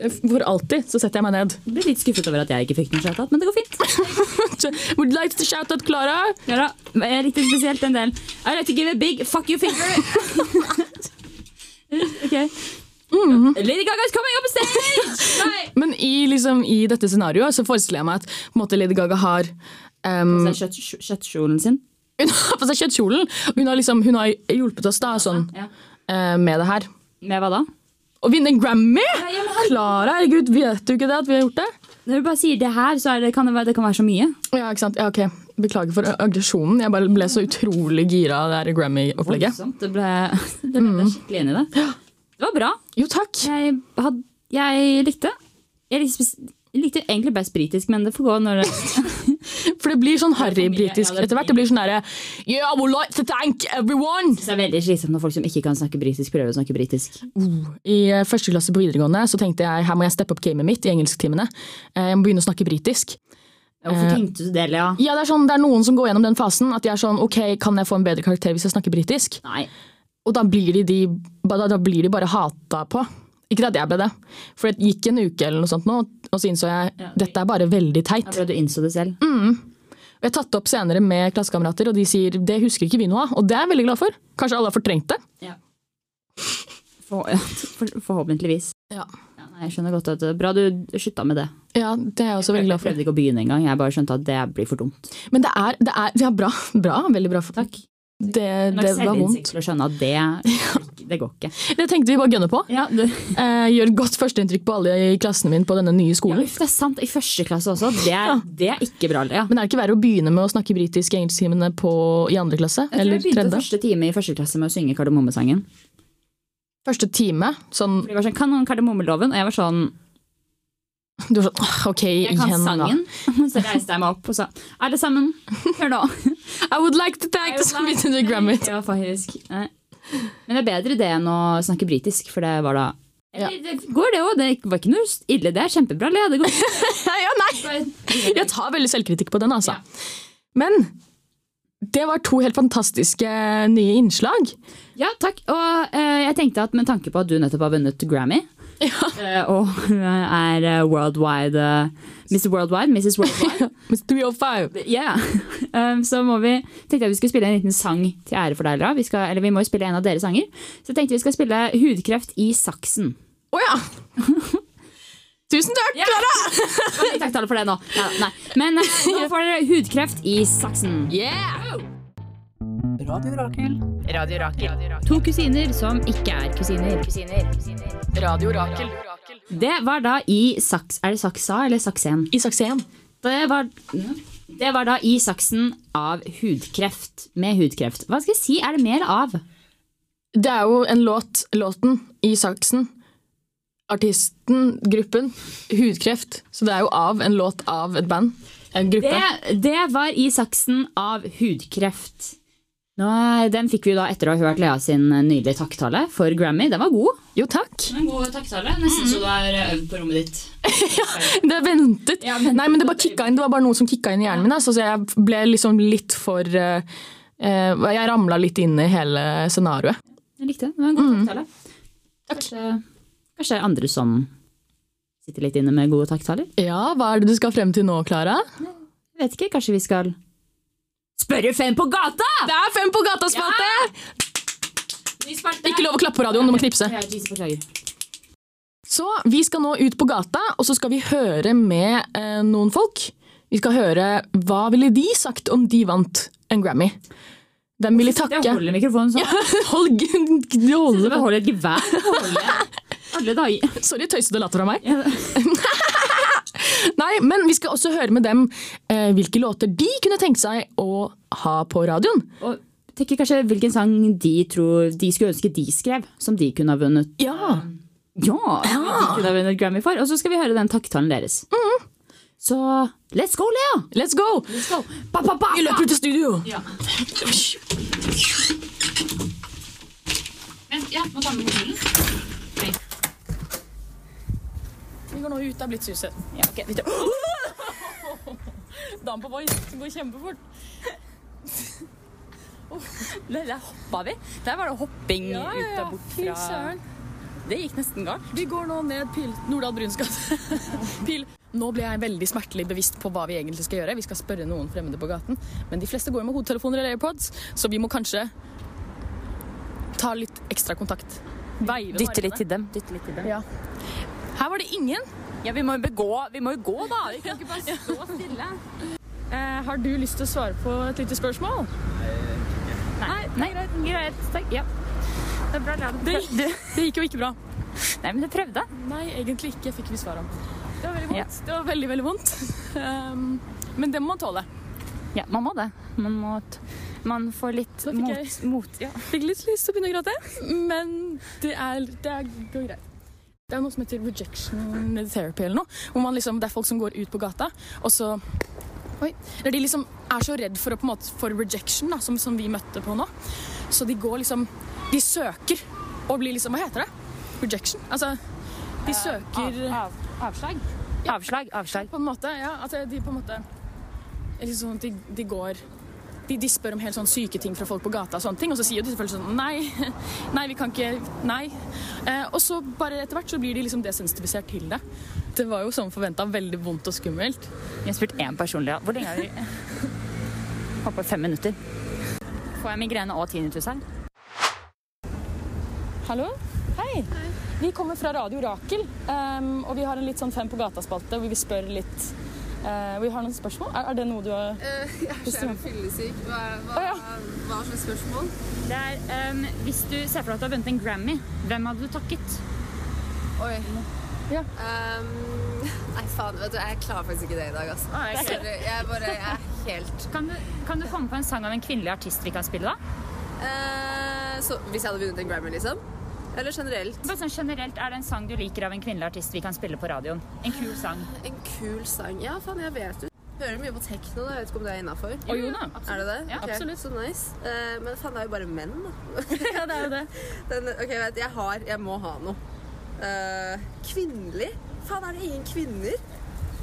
S4: Eh, For alltid så setter jeg meg ned.
S1: Ble litt skuffet over at jeg ikke fikk noe shout-out, men det går fint.
S4: Would like to shout out Clara.
S1: Ja da, men jeg likte spesielt den delen. I like to give a big fuck you finger. ok. Mm. Lady Gaga is coming up on stage! Nei!
S4: Men i, liksom, i dette scenarioet så forestiller jeg meg at på en måte, Lady Gaga har ehm,
S1: Den kjøtt- kjøttkjolen sin.
S4: Hun har på seg kjøttkjolen. Hun har, liksom, hun har hjulpet oss da, sånn,
S1: Ja.
S4: eh, med det her.
S1: Med hva da?
S4: Og Å vinne en Grammy! Klara, herregud, vet du ikke det at vi har gjort det?
S1: Når du bare sier det her, så er det, kan det, være, det kan være så mye.
S4: Ja, ikke sant? Ja, ok. Beklager for aggresjonen. Jeg bare ble så utrolig gira av det her Grammy-opplegget.
S1: Voldsomt. Det ble, det ble jeg skikkelig enig i det. Mm. Det var bra.
S4: Jo, takk.
S1: Jeg, had, jeg likte. Jeg likte, spes- jeg likte egentlig best britisk, men det får gå når det
S4: For det blir sånn harry-britisk
S1: Ja, det blir-
S4: etter hvert. Det blir sånn derre Yeah, I would like to thank everyone!
S1: Så Det er veldig slitsomt når folk som ikke kan snakke britisk, prøver å snakke britisk.
S4: I eh, første klasse på videregående så tenkte jeg her må jeg steppe opp gamet mitt i engelsktimene. Eh, Jeg må begynne å snakke britisk.
S1: Hvorfor tenkte du det, Lea?
S4: Ja, det er, sånn, det er noen som går gjennom den fasen at de er sånn ok, kan jeg få en bedre karakter hvis jeg snakker britisk?
S1: Nei.
S4: Og da blir de, de, da, da blir de bare hata på. Ikke at jeg ble det. For det gikk en uke eller noe sånt nå, og så innså jeg dette er bare veldig teit.
S1: Jeg tror du innså det selv.
S4: Og Jeg har tatt det opp senere med klassekamerater, og de sier det husker ikke vi noe av. Og det er jeg veldig glad for. Kanskje alle har fortrengt det.
S1: For, for, forhåpentligvis.
S4: Ja.
S1: Ja, nei, jeg skjønner godt at det er Bra du slutta med det.
S4: Ja, det er jeg også veldig
S1: Jeg
S4: glad for.
S1: prøvde ikke å begynne engang. Jeg bare skjønte at det blir for dumt.
S4: Men det er, det er ja, bra. bra. Veldig bra. For,
S1: Takk.
S4: det,
S1: Nok
S4: det var
S1: selvinnsikt
S4: vondt.
S1: til å skjønne at det Det går ikke.
S4: Det tenkte vi bare gønne på.
S1: Ja, det,
S4: Eh, gjør godt førsteinntrykk på alle i klassen min på denne nye
S1: ja,
S4: skolen.
S1: uff, det er sant. I første klasse også. Det er, det er ikke bra. Ja.
S4: Men er det ikke verre å begynne med å snakke britisk i engelsktimene på- i andre klasse?
S1: Jeg tror
S4: Eller
S1: jeg begynte
S4: tredje?
S1: første time i første klasse med å synge Kardemommesangen.
S4: Første time. Sånn,
S1: For de var sånn, Kan noen Kardemommeloven? Og jeg var sånn
S4: du var sånn «Åh, Ok,
S1: Jeg kan
S4: igjen, da.
S1: sangen. Så reiste jeg meg opp og sa Alle sammen, hør nå.
S4: I would like to thank the Smith and the Grammy.
S1: Ja, faktisk. Nei. Men det er bedre det enn å snakke britisk, for det var da
S4: Ja.
S1: Eller, Det går, det òg. Det var ikke noe ille. Det er kjempebra. Lea. Det går.
S4: Ja, nei! Jeg tar veldig selvkritikk på den, altså. Men det var to helt fantastiske nye innslag.
S1: Ja, takk. Og eh, jeg tenkte at med tanke på at du nettopp har vunnet Grammy, eh, og er eh, worldwide eh, Mr. Worldwide, Mrs. Worldwide,
S4: Med 305.
S1: yeah. um, så må vi, tenkte jeg vi skulle spille en liten sang til ære for deg, Lara. Vi skal, eller vi må jo spille en av deres sanger. Så jeg tenkte vi skal spille 'Hudkreft i saksen'.
S4: Å ja! Tusen takk, Klara!
S1: Oi, Takk til alle for det nå. Ja, nei. Men eh, nå får dere 'Hudkreft i saksen'. To kusiner som ikke er kusiner.
S4: Radio Rakel.
S1: Det var da i saks... Er det saksa eller saksen?
S4: Isak Sehn.
S1: Det var, det var da i saksen av hudkreft. Med hudkreft. Hva skal jeg si? Er det mer av?
S4: Det er jo en låt. Låten Isaksen. Artisten, gruppen, hudkreft. Så det er jo av en låt av et band. En gruppe.
S1: Det, det var i saksen av hudkreft. Nå, eh, den fikk vi jo da etter å ha hørt Lea sin eh, nydelige takktale for Grammy. Den var god. Mm.
S4: Jo, takk.
S1: En god takktale. Nesten så du har øvd på rommet ditt.
S4: Det er ventet.
S1: Ja, ventet.
S4: Nei, men det bare kicka inn. Det var bare noe som kicka inn i hjernen min. Altså, så jeg ble liksom litt for eh, eh, Jeg ramla litt inn i hele scenarioet.
S1: Jeg likte det. Det var en god takttale. Kanskje, kanskje det er andre som sitter litt inne med gode takktaler?
S4: Ja, hva er det du skal frem til nå, Klara?
S1: Jeg vet ikke, kanskje vi skal spørre fem på gata!
S4: Det er Fem på gata-spalte! Ikke lov å klappe på radioen, du må knipse.
S1: Ja, Jesus, beklager.
S4: Så vi skal nå ut på gata, og så skal vi høre med eh, noen folk. Vi skal høre hva ville de sagt om de vant en Grammy. Hvem ville
S1: Jeg
S4: takke?
S1: holder mikrofonen sånn.
S4: Hold, du
S1: Jeg
S4: holder.
S1: holder et gevær. Holder jeg. Alle dager.
S4: Sorry, tøysete latter fra meg.
S1: Ja, det-
S4: Nei, men vi skal også høre med dem eh, hvilke låter de kunne tenke seg å ha på radioen.
S1: Og tenker kanskje hvilken sang de tror de skulle ønske de skrev, som de kunne ha vunnet.
S4: Ja,
S1: Ja, som De kunne ha vunnet Grammy for. Og så skal vi høre den takktalen deres.
S6: Mm.
S1: Så let's go, Lea!
S4: let's go!
S1: Let's go. Ba, ba, ba,
S4: Vi
S1: ba.
S4: løper ut i studio! Vi går nå ut av Blitzhuset.
S5: Damp på Voice. Det går kjempefort.
S6: Der der hoppa vi. Der var det hopping ut av bort
S5: Fy
S6: fra
S5: søren.
S6: Det gikk nesten galt.
S4: Vi går nå ned Pil Nordahl Bruns gate. Pil. Nå ble jeg veldig smertelig bevisst på hva vi egentlig skal gjøre. Vi skal spørre noen fremmede på gaten, men de fleste går jo med hodetelefoner eller AirPods, så vi må kanskje ta litt ekstra kontakt. Veive
S6: Dytte litt
S4: armene.
S6: til dem. Dytte litt til dem.
S4: Ja. Her var det ingen.
S6: Ja, vi må jo begå. Vi må jo gå, da. Vi kan ikke bare stå stille.
S4: Eh, har du lyst til å svare på et lite spørsmål?
S6: Nei, greit. Takk. Ja. Det er bra.
S4: Det gikk jo ikke bra.
S1: Nei, men du prøvde.
S4: Nei, egentlig ikke. Fikk vi svar om. Det var veldig
S1: Ja.
S4: vondt. Det var veldig, veldig vondt. Ehm, men det må man tåle.
S1: Ja, man må det. Man, må t man får litt
S4: Da fikk
S1: mot, mot ja.
S4: Fikk litt lyst til å begynne å gråte, men det, er, det er, går greit. Det er noe som heter rejection therapy eller noe, hvor man liksom, det er folk som går ut på gata, og så Oi. Eller de liksom er så redd for, å, på en måte, for rejection, da, som, som vi møtte på nå. Så de går liksom De søker og blir liksom Hva heter det? Rejection? Altså, de søker
S1: avslag? Avslag, avslag.
S4: på en måte, ja. At de på en måte eller sånn at de, de går de, de spør om helt sånn syke ting fra folk på gata, og sånne ting, og så sier de selvfølgelig sånn Nei, nei, vi kan ikke Nei. Eh, og så bare etter hvert så blir de liksom desensitivisert til det. Det var jo som forventa veldig vondt og skummelt.
S1: Jeg har spurt én personlig, ja. Hvor lenge har du Håper fem minutter. Får jeg migrene og tinnitus her?
S4: Hallo? Hei. Vi kommer fra Radio Rakel, ehm, og vi har en litt sånn Fem på gata-spalte hvor vi spør litt eh, Vi har noen spørsmål. Er, er det noe du har
S2: Jeg er fyllesyk. Hva, hva, hva slags spørsmål?
S1: Det er, ehm, Hvis du ser for deg at du har vunnet en Grammy, hvem hadde du takket?
S2: Oi. Um, nei, faen, vet du, jeg klarer faktisk ikke det i dag, altså. Sorry, jeg bare jeg er helt
S1: Kan du, kan du komme på en sang av en kvinnelig artist vi kan spille, da?
S2: Eh, Så hvis jeg hadde vunnet en Grammy, liksom? Eller generelt?
S1: Bare sånn generelt, Er det en sang du liker av en kvinnelig artist vi kan spille på radioen? En kul sang.
S2: En kul sang. Ja, faen, jeg vet jo. Hører mye på tekno, da. Jeg vet ikke om det er innafor.
S4: Å, jo da.
S2: Er det det?
S1: Ja,
S2: Ok,
S4: absolutt.
S2: Så nice. Eh, men faen, det er jo bare menn, da.
S4: Ja, det er jo det.
S2: Den, ok, vet, jeg har Jeg må ha noe. Eh, kvinnelig? Faen, er det ingen kvinner?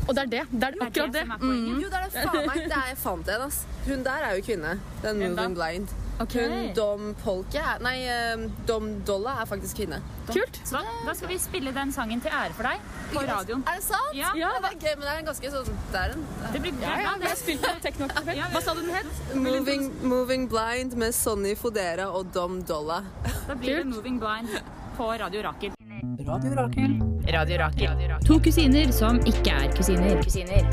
S4: Og det er det. Det er akkurat det.
S1: som er poenget.
S2: Jo, det er det faen meg. Det er jeg fant en, ass. Hun der er jo kvinne. Den Moving Blind. Hun Dom Polke er Nei, eh, Dom Dolla er faktisk kvinne.
S4: Mm, Kult.
S1: Så da, da skal vi spille den sangen til ære for deg på radioen.
S2: Er det sant?
S1: Ja.
S2: det er gøy, men det er en ganske sånn Det er en
S1: Det blir bra. det.
S4: Hva sa du den het?
S2: moving, moving Blind med Sonny Fodera og Dom Dolla.
S1: Da blir det Moving Blind på Radio Rakel.
S6: To kusiner som ikke er kusiner.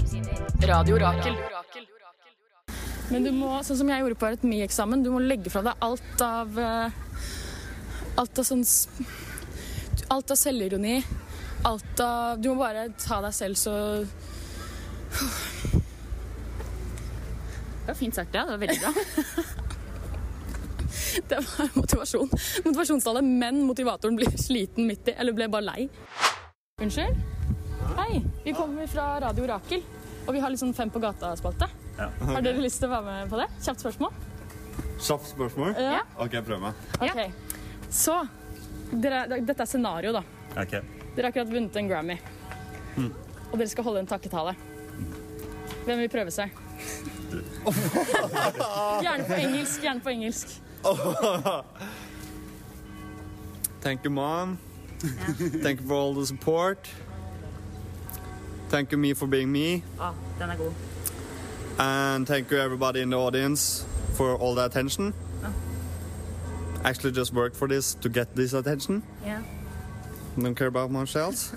S4: Men du må, sånn som jeg gjorde på arytmieksamen, du må legge fra deg alt av eh, Alt av sånn s- Alt av selvironi. Alt av Du må bare ta deg selv så
S1: Det var fint sagt, ja. Det var veldig bra.
S4: Det var motivasjon. Motivasjonstallet, men motivatoren ble sliten midt i, eller ble bare lei. Unnskyld? Hei, vi kommer fra Radio Rakel, og vi har litt sånn Fem på gata-spalte. Har dere lyst til å være med på det? Kjapt spørsmål?
S7: Kjapt spørsmål?
S4: Ja.
S7: OK, jeg prøver meg.
S4: Ok. Så, dere, dette er scenario da.
S7: Ok.
S4: Dere har akkurat vunnet en Grammy. Og dere skal holde en takketale. Hvem vil prøve seg? gjerne på engelsk. Gjerne på engelsk.
S7: Thank you, mom. Thank you for all the support. Thank you me for being me.
S1: Å, den er god.
S7: And thank you everybody in the audience for all the attention. Actually just worked for this to get this attention.
S1: Yeah.
S7: Don't care about much else.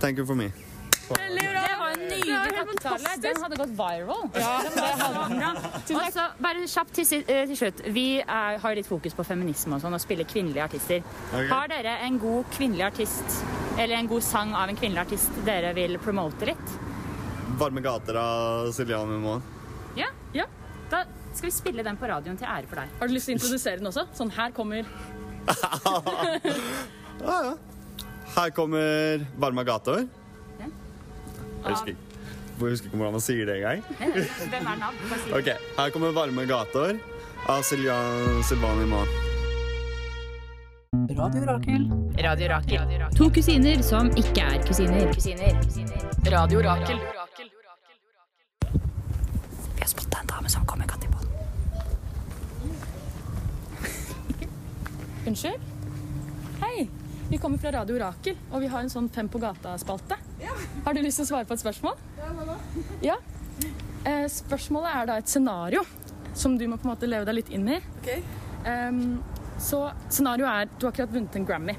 S7: Thank you for me.
S1: Det var en nydelig takketale. Den hadde gått viral. Ja, Og så bare kjapt til, si- eh, til slutt. Vi er, har litt fokus på feminisme og sånn, og spiller kvinnelige artister.
S7: Ok.
S1: Har dere en god kvinnelig artist, eller en god sang av en kvinnelig artist dere vil promote litt?
S7: Varme gater av Siljan Moen.
S1: Ja?
S4: Ja.
S1: Da skal vi spille den på radioen til ære for deg.
S4: Har du lyst til å introdusere den også? Sånn, her kommer
S7: Her kommer varme gater. Jeg husker, ikke- jeg husker ikke hvordan man sier det engang.
S1: Hvem er navn? Bare si det.
S7: Ok, her kommer Varme gater av Silja- Silvani Mann.
S6: To kusiner som ikke er kusiner.
S1: Vi har spotta en dame som kommer katt i bånd.
S4: Unnskyld? Hei, vi kommer fra Radio Rakel, og vi har en sånn Fem på gata-spalte. Har du lyst til å svare på et spørsmål? Ja, Eh, spørsmålet er da et scenario som du må på en måte leve deg litt inn i.
S2: Ok.
S4: Em, så scenarioet er du har akkurat vunnet en Grammy.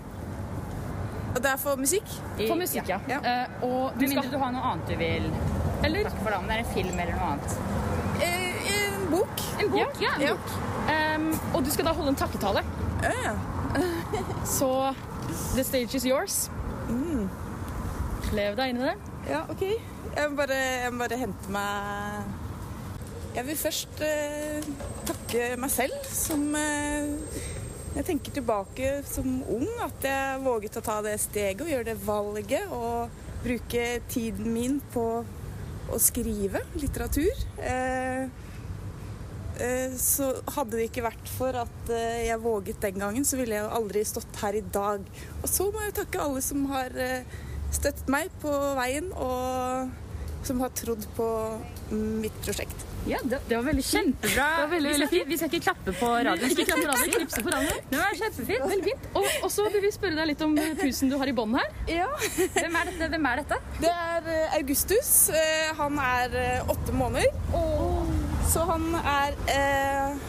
S2: Og det er for musikk?
S4: For musikk, ja.
S2: ja.
S4: Eh, og du
S1: Med
S4: skal
S1: mindre du har noe annet du vil
S4: Eller
S1: takke for, da. Om det er en film eller noe annet.
S2: en bok.
S4: en bok. Ja. Em, og du skal da holde en takketale.
S5: Så the stage is yours. Lev deg inn i det.
S8: Ja, OK. Jeg må bare, jeg må bare hente meg Jeg vil først eh, takke meg selv som eh, Jeg tenker tilbake som ung at jeg våget å ta det steget og gjøre det valget og bruke tiden min på å skrive litteratur. Eh, eh, så hadde det ikke vært for at eh, jeg våget den gangen, så ville jeg jo aldri stått her i dag. Og så må jeg takke alle som har eh, støttet meg på veien, og som har trodd på mitt prosjekt.
S6: Ja, det, det var veldig kjempebra. vi, skal ikke, vi skal ikke klappe på radioen.
S5: Ikke klappe radioen, knipse på radioen.
S6: Det var kjempefint.
S5: Veldig fint. Og, og så vil vi spørre deg litt om pusen du har i bånd her.
S6: Hvem er dette? Hvem er dette?
S8: Det er eh, Augustus. Eh, Han er eh, åtte måneder. Så han er eh,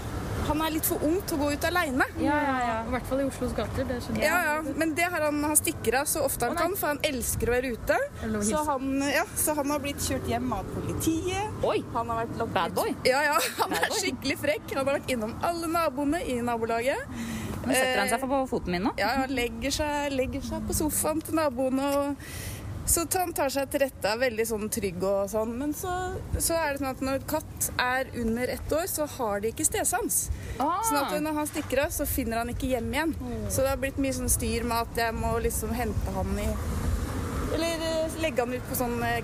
S8: Han er litt for ung til å gå ut aleine.
S5: Ja, ja, ja. I hvert fall i Oslos gater. Det skjønner
S8: Ja, ja. Men det har han, han stikker av så ofte han kan, for han elsker å være ute. Så han, ja, så han har blitt kjørt hjem av politiet.
S6: Oi.
S8: Han har vært lokket-
S6: Bad boy.
S8: Ja, ja. Han er skikkelig frekk. Han har vært innom alle naboene i nabolaget. Eh,
S6: Nå setter han seg på foten min nå.
S8: Ja, han legger seg, legger seg på sofaen til naboene og så t- han tar seg til rette, er veldig sånn trygg og sånn. Men så, så er det sånn at når katt er under ett år, så har de ikke stesans. Sånn at når han stikker av, så finner han ikke hjem igjen. Så det har blitt mye sånn styr med at jeg må liksom hente han i Eller eh, legge han ut på sånn eh,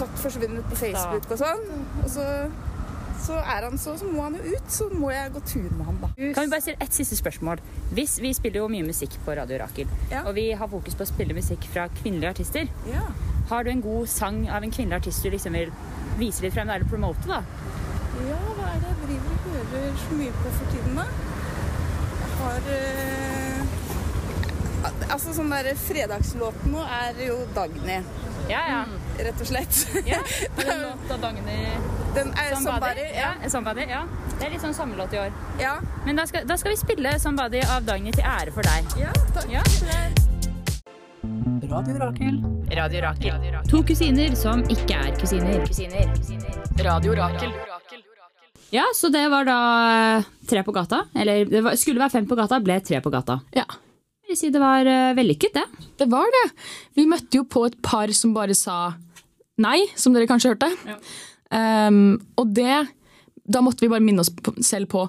S8: Katt forsvunnet på Facebook og sånn. Og så, så er han så, så må han jo ut. Så må jeg gå tur med han, da.
S6: Kan vi bare stille et siste spørsmål? Hvis Vi spiller jo mye musikk på Radio Rakel,
S8: Ja.
S6: og vi har fokus på å spille musikk fra kvinnelige artister.
S8: Ja.
S6: Har du en god sang av en kvinnelig artist du liksom vil vise litt frem, eller promote, da?
S8: Ja, hva er det jeg driver og hører så mye på for tiden, da? Jeg har eh, al- Altså, sånn der fredagslåt nå er jo Dagny,
S6: Ja, ja.
S8: rett og slett.
S6: Låta Dagny
S8: Den er Somebody.
S6: Ja. Somebody, ja. Det er litt sånn samme låt i år.
S8: Ja.
S6: Men da skal, da skal vi spille Somebody av Dagny til ære for deg.
S8: ja, takk.
S6: Ja.
S4: Radio Rakel.
S6: Radio Rakel. To kusiner som ikke er kusiner. kusiner.
S4: Radio Rakel.
S1: Ja, så det var da eh, tre på gata. Eller det var, skulle være fem på gata, ble tre på gata.
S4: Ja,
S1: Jeg vil si det var eh, vellykket, det.
S4: det var det. Vi møtte jo på et par som bare sa nei, som dere kanskje hørte. Ehm, og det Da måtte vi bare minne oss på- selv på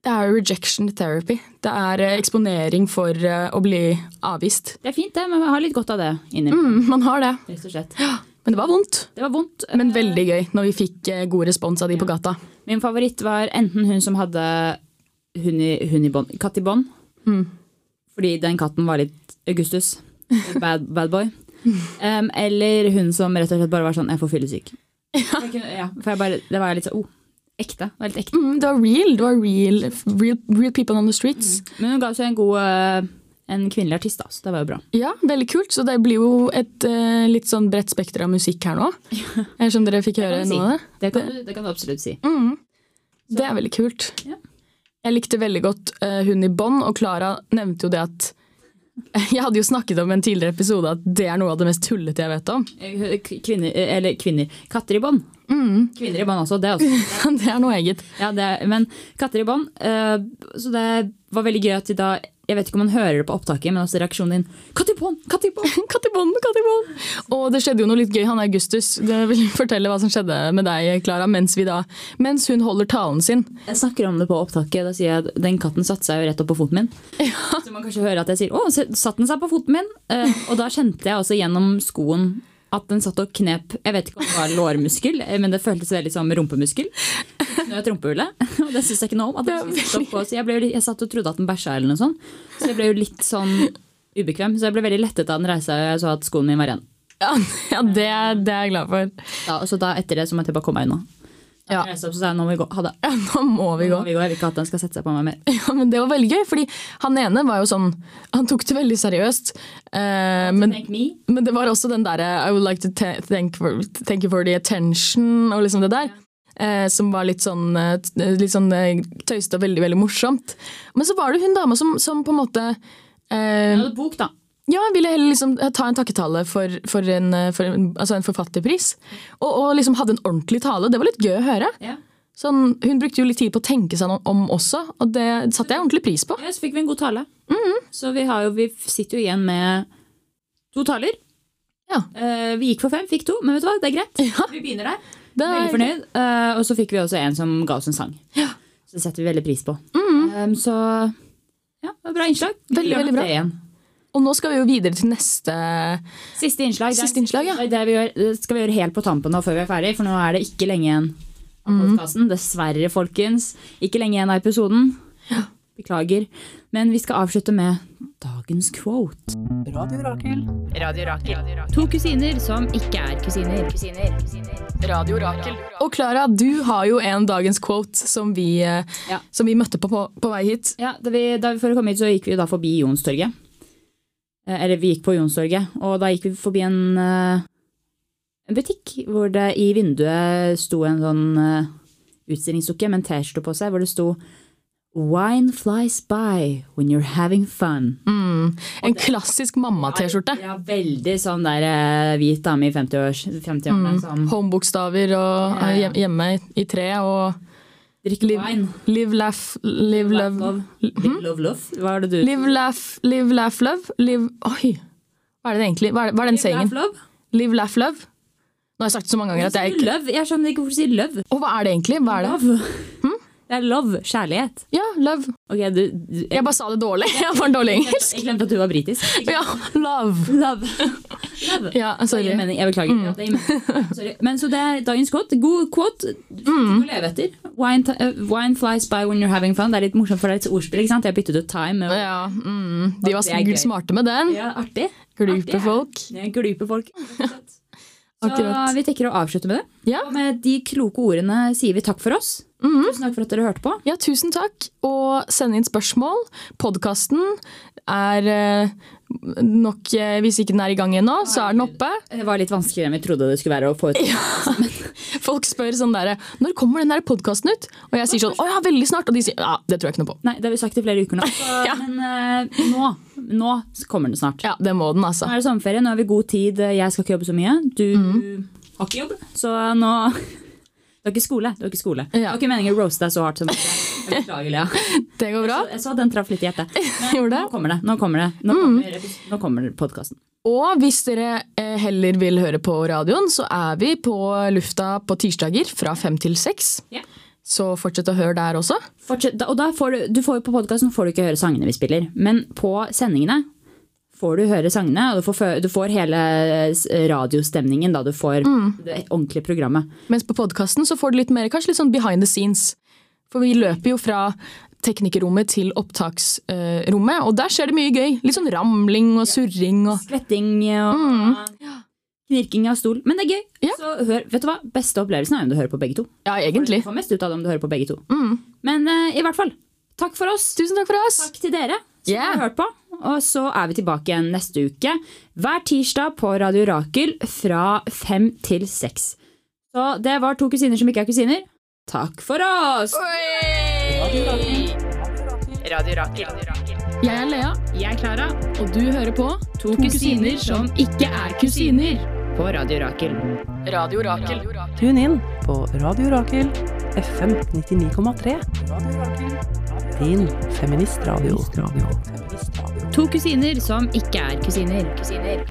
S4: Det er rejection therapy. Det er eh, eksponering for eh, å bli avvist.
S1: Det er fint, det, men man har litt godt av det innimellom.
S4: Mm, man har det.
S1: Rett og slett.
S4: Men det var vondt.
S1: Det var vondt.
S4: Men veldig gøy når vi fikk eh, god respons av de på gata.
S1: Min favoritt var enten hun som hadde hund i, hund i bånd, katt i bånd.
S4: Mm.
S1: Fordi den katten var litt Augustus. Bad, bad boy. Em, eller hun som rett og slett bare var sånn 'jeg får fyllesyk'. Jeg kunne- Ja, for jeg bare, det var litt sånn oh, ekte. Det var litt ekte.
S4: Mm, det var real. Det var real, real, real people on the streets.
S1: Men hun ga seg en god eh, en kvinnelig artist, da, så det var jo bra.
S4: Ja, veldig kult. Så det blir jo et eh, litt sånn bredt spekter av musikk her nå. Eh, Som dere fikk høre
S1: vi si.
S4: nå. da.
S1: Det kan, du- det kan du absolutt si.
S4: Mm. Det er veldig kult.
S1: Ja.
S4: Jeg likte veldig godt eh, hun i bånd, og Klara nevnte jo det at Jeg hadde jo snakket om i en tidligere episode at det er noe av det mest tullete jeg vet om.
S1: Eh, k- Kvinner, eh, eller kvinner Katter i bånd. Kvinner i bånd også, det også.
S4: Mm. det er noe eget.
S1: Ja, det, men katter i bånd. eh, så det var veldig gøy at de da Jeg vet ikke om man hører det på opptaket, men også reaksjonen din. Katt i bånd! Katt i bånd!
S4: Katt i bånd, katt i bånd! Og det skjedde jo noe litt gøy. Han Augustus, det vil fortelle hva som skjedde med deg, Klara, mens, vi da- mens hun holder talen sin.
S1: Jeg snakker om det på opptaket. Da sier jeg at den katten satte seg jo rett opp på foten min. Så man kanskje hører at jeg sier 'Å, se- satt den seg på foten min?' Eh, og da kjente jeg også gjennom skoen at den satt og knep Jeg vet ikke om det var lårmuskel, eh, men det føltes veldig som rumpemuskel. Så Knøt rumpehullet. Og det syns jeg ikke noe om. At den skulle sitte oppå. Så jeg, ble, jo litt- jeg satt og trodde at den bæsja eller noe sånt. Så jeg ble jo litt sånn ubekvem. Så jeg ble veldig lettet da den reiste seg og jeg så at skoen min var ren.
S4: Ja, ja det, det er jeg glad for.
S1: Da, og så da etter det så måtte jeg bare komme meg unna. Da
S4: Ja.
S1: reiste jeg opp, Så sa jeg nå må vi gå. Ha det.
S4: Ja, nå må vi gå.
S1: Nå må vi gå. Jeg vil ikke at den skal sette seg på meg mer.
S4: Ja, men det var veldig gøy, fordi han ene var jo sånn Han tok det veldig seriøst. Eh, men,
S1: Thank me.
S4: men det var også den derre I would like to ta- thank, for, thank you for the attention, og liksom det der. Eh, som var litt sånn, eh, t- litt sånn eh, tøyste og veldig, veldig morsomt. Men så var det hun dama som, som på en måte eh,
S1: Jeg hadde bok, da.
S4: ja, ville heller liksom ta en takketale for, for, en, eh, for en, altså en forfatterpris. Og, og liksom hadde en ordentlig tale. Det var litt gøy å høre.
S1: Ja.
S4: Sånn, hun brukte jo litt tid på å tenke seg noe om også, og det satte jeg ordentlig pris på.
S1: Ja, så fikk vi en god tale. Så vi, har jo, vi sitter jo igjen med to taler.
S4: Ja.
S1: Eh, vi gikk for fem, fikk to, men vet du hva, det er greit. Vi begynner der.
S4: Det er-
S1: Veldig fornøyd. Eh, og så fikk vi også en som ga oss en sang. Så det setter vi veldig pris på. Eh, så ja, det var bra innslag.
S4: Mm. Veldig,
S1: Gjør nok
S4: veldig bra.
S1: det igjen.
S4: Og nå skal vi jo videre til neste
S1: Siste innslag. det er-
S4: Siste innslag, ja.
S1: Det, er det vi gjør, det skal vi gjøre helt på tampen nå før vi er ferdig, for nå er det ikke lenge igjen av
S4: Mm.
S1: podkasten. Dessverre, folkens. Ikke lenge igjen av episoden. Beklager. Men vi skal avslutte med dagens quote.
S6: To kusiner som ikke er kusiner.
S4: Radio Rakel. Og Klara, du har jo en dagens quote som vi, eh,
S1: Ja.
S4: som vi møtte på, på på vei hit.
S1: Ja, da vi, da vi, For å komme hit så gikk vi jo da forbi Jonstorget. Eh, Eller vi gikk på Jonstorget, og da gikk vi forbi en, eh, en butikk hvor det i vinduet sto en sånn eh, utstillingsdukke med en T-skjorte på seg hvor det sto Wine flies by when you're having fun.
S4: Mm, En klassisk mamma-T-skjorte.
S1: Ja, veldig sånn der eh, hvit dame i 50-års- 50-årene som
S4: Homebokstaver Mm, og
S1: Ja, ja.
S4: eh, hjemme i- i tre og
S1: drikker
S4: liv-
S1: wine.
S4: Live, laugh, live,
S1: Love,
S4: love
S1: love, love, love, love. Hva er det du
S4: Live, laugh, live, laugh, love. Live Oi! Hva er det egentlig? Hva er, hva er den
S1: Love,
S4: sayingen?
S1: love?
S4: Live, laugh, love. Nå har jeg sagt det så mange ganger at jeg ikke
S1: Love? Jeg skjønner ikke hvorfor du sier love.
S4: Og hva er det egentlig? Hva er det? Mm.
S1: Love. Det er love. Kjærlighet.
S4: Ja, love.
S1: Ok, du, du jeg,
S4: Jeg bare sa det dårlig. Jeg var dårlig i engelsk.
S1: jeg glemte at du var britisk.
S4: Ja, love.
S1: Love. Love.
S4: Ja,
S1: Det gir
S4: sorry. Mm.
S1: mening. Jeg beklager. Ja, det gir mening. Sorry. Men så det er dagens quote. God quote. Mm. leve etter. Wine, ti- eh, wine flies by when you're having fun. Det er litt morsomt, for det er et ordspill. ikke sant? Jeg byttet ut time. med-
S4: Ja, mm. De var
S1: Det er gøy.
S4: sikkert smarte med den.
S1: Ja, artig.
S4: Glupe folk.
S1: Jeg gluper folk. Så
S4: Akkurat.
S1: vi tenker å avslutte med det.
S4: Ja. Mm.
S1: Og med de kloke ordene sier vi takk for oss. Tusen takk for at dere hørte på.
S4: Ja, tusen takk. Og send inn spørsmål. Podkasten er eh, nok eh, Hvis ikke den er i gang ennå, så er den oppe.
S1: Det var litt vanskeligere enn vi trodde det skulle være å få ut.
S4: Folk spør sånn derre Når kommer den der podkasten ut? Og jeg sier sånn Å ja, veldig snart. Og de sier Ja, det tror jeg ikke noe på.
S1: Nei, det har vi sagt i flere uker nå. Så,
S4: Ja.
S1: Men eh, nå, nå kommer det snart.
S4: Ja, det må den, altså.
S1: Nå er det sommerferie, nå har vi god tid. Jeg skal ikke jobbe så mye. Du
S4: Mhm.
S1: har ikke jobb, så nå Du har ikke skole. Du har ikke skole. Det var ikke meningen å roaste deg så hardt som dette. Jeg Beklager, Lea.
S4: Det går bra.
S1: Jeg så den traff litt i hjertet.
S4: Gjorde det?
S1: Nå
S4: Mhm.
S1: kommer det. Nå kommer, det. Nå kommer, nå kommer podkasten.
S4: Og hvis dere eh, heller vil høre på radioen, så er vi på lufta på tirsdager fra fem til seks.
S1: Ja.
S4: Så fortsett å høre der også.
S1: Fortsett. da- Og da får du, du får jo på podkasten får du ikke høre sangene vi spiller, men på sendingene får du høre sangene, og du får, fø- du får hele eh, s- radiostemningen da du får det ordentlige programmet.
S4: Mens på podkasten så får du litt mer, kanskje litt sånn behind the scenes. For vi løper jo fra teknikerrommet til opptaksrommet, eh, og der skjer det mye gøy. Litt sånn ramling og surring og
S1: Svetting og knirking av stol. Men det er gøy.
S4: Ja.
S1: Så hør, vet du hva? Beste opplevelsen er om du hører på begge to.
S4: Ja, egentlig. Mm.
S1: Du får mest ut av det om du hører på begge to. Men eh, i hvert fall, takk for oss.
S4: Tusen takk for oss!
S1: Takk til dere som
S4: Yeah.
S1: har hørt på. Og så er vi tilbake igjen neste uke. Hver tirsdag på Radio Rakel fra fem til seks. Så det var to kusiner som ikke er kusiner. Takk for oss!
S4: Jeg er Lea,
S6: Jeg er Klara.
S4: og du hører på
S1: To kusiner som ikke er kusiner på Radio Rakel.
S4: Radio Rakel.
S9: Tune inn på Radio Rakel FM 99,3. Din feministradio.
S1: To kusiner som ikke er kusiner.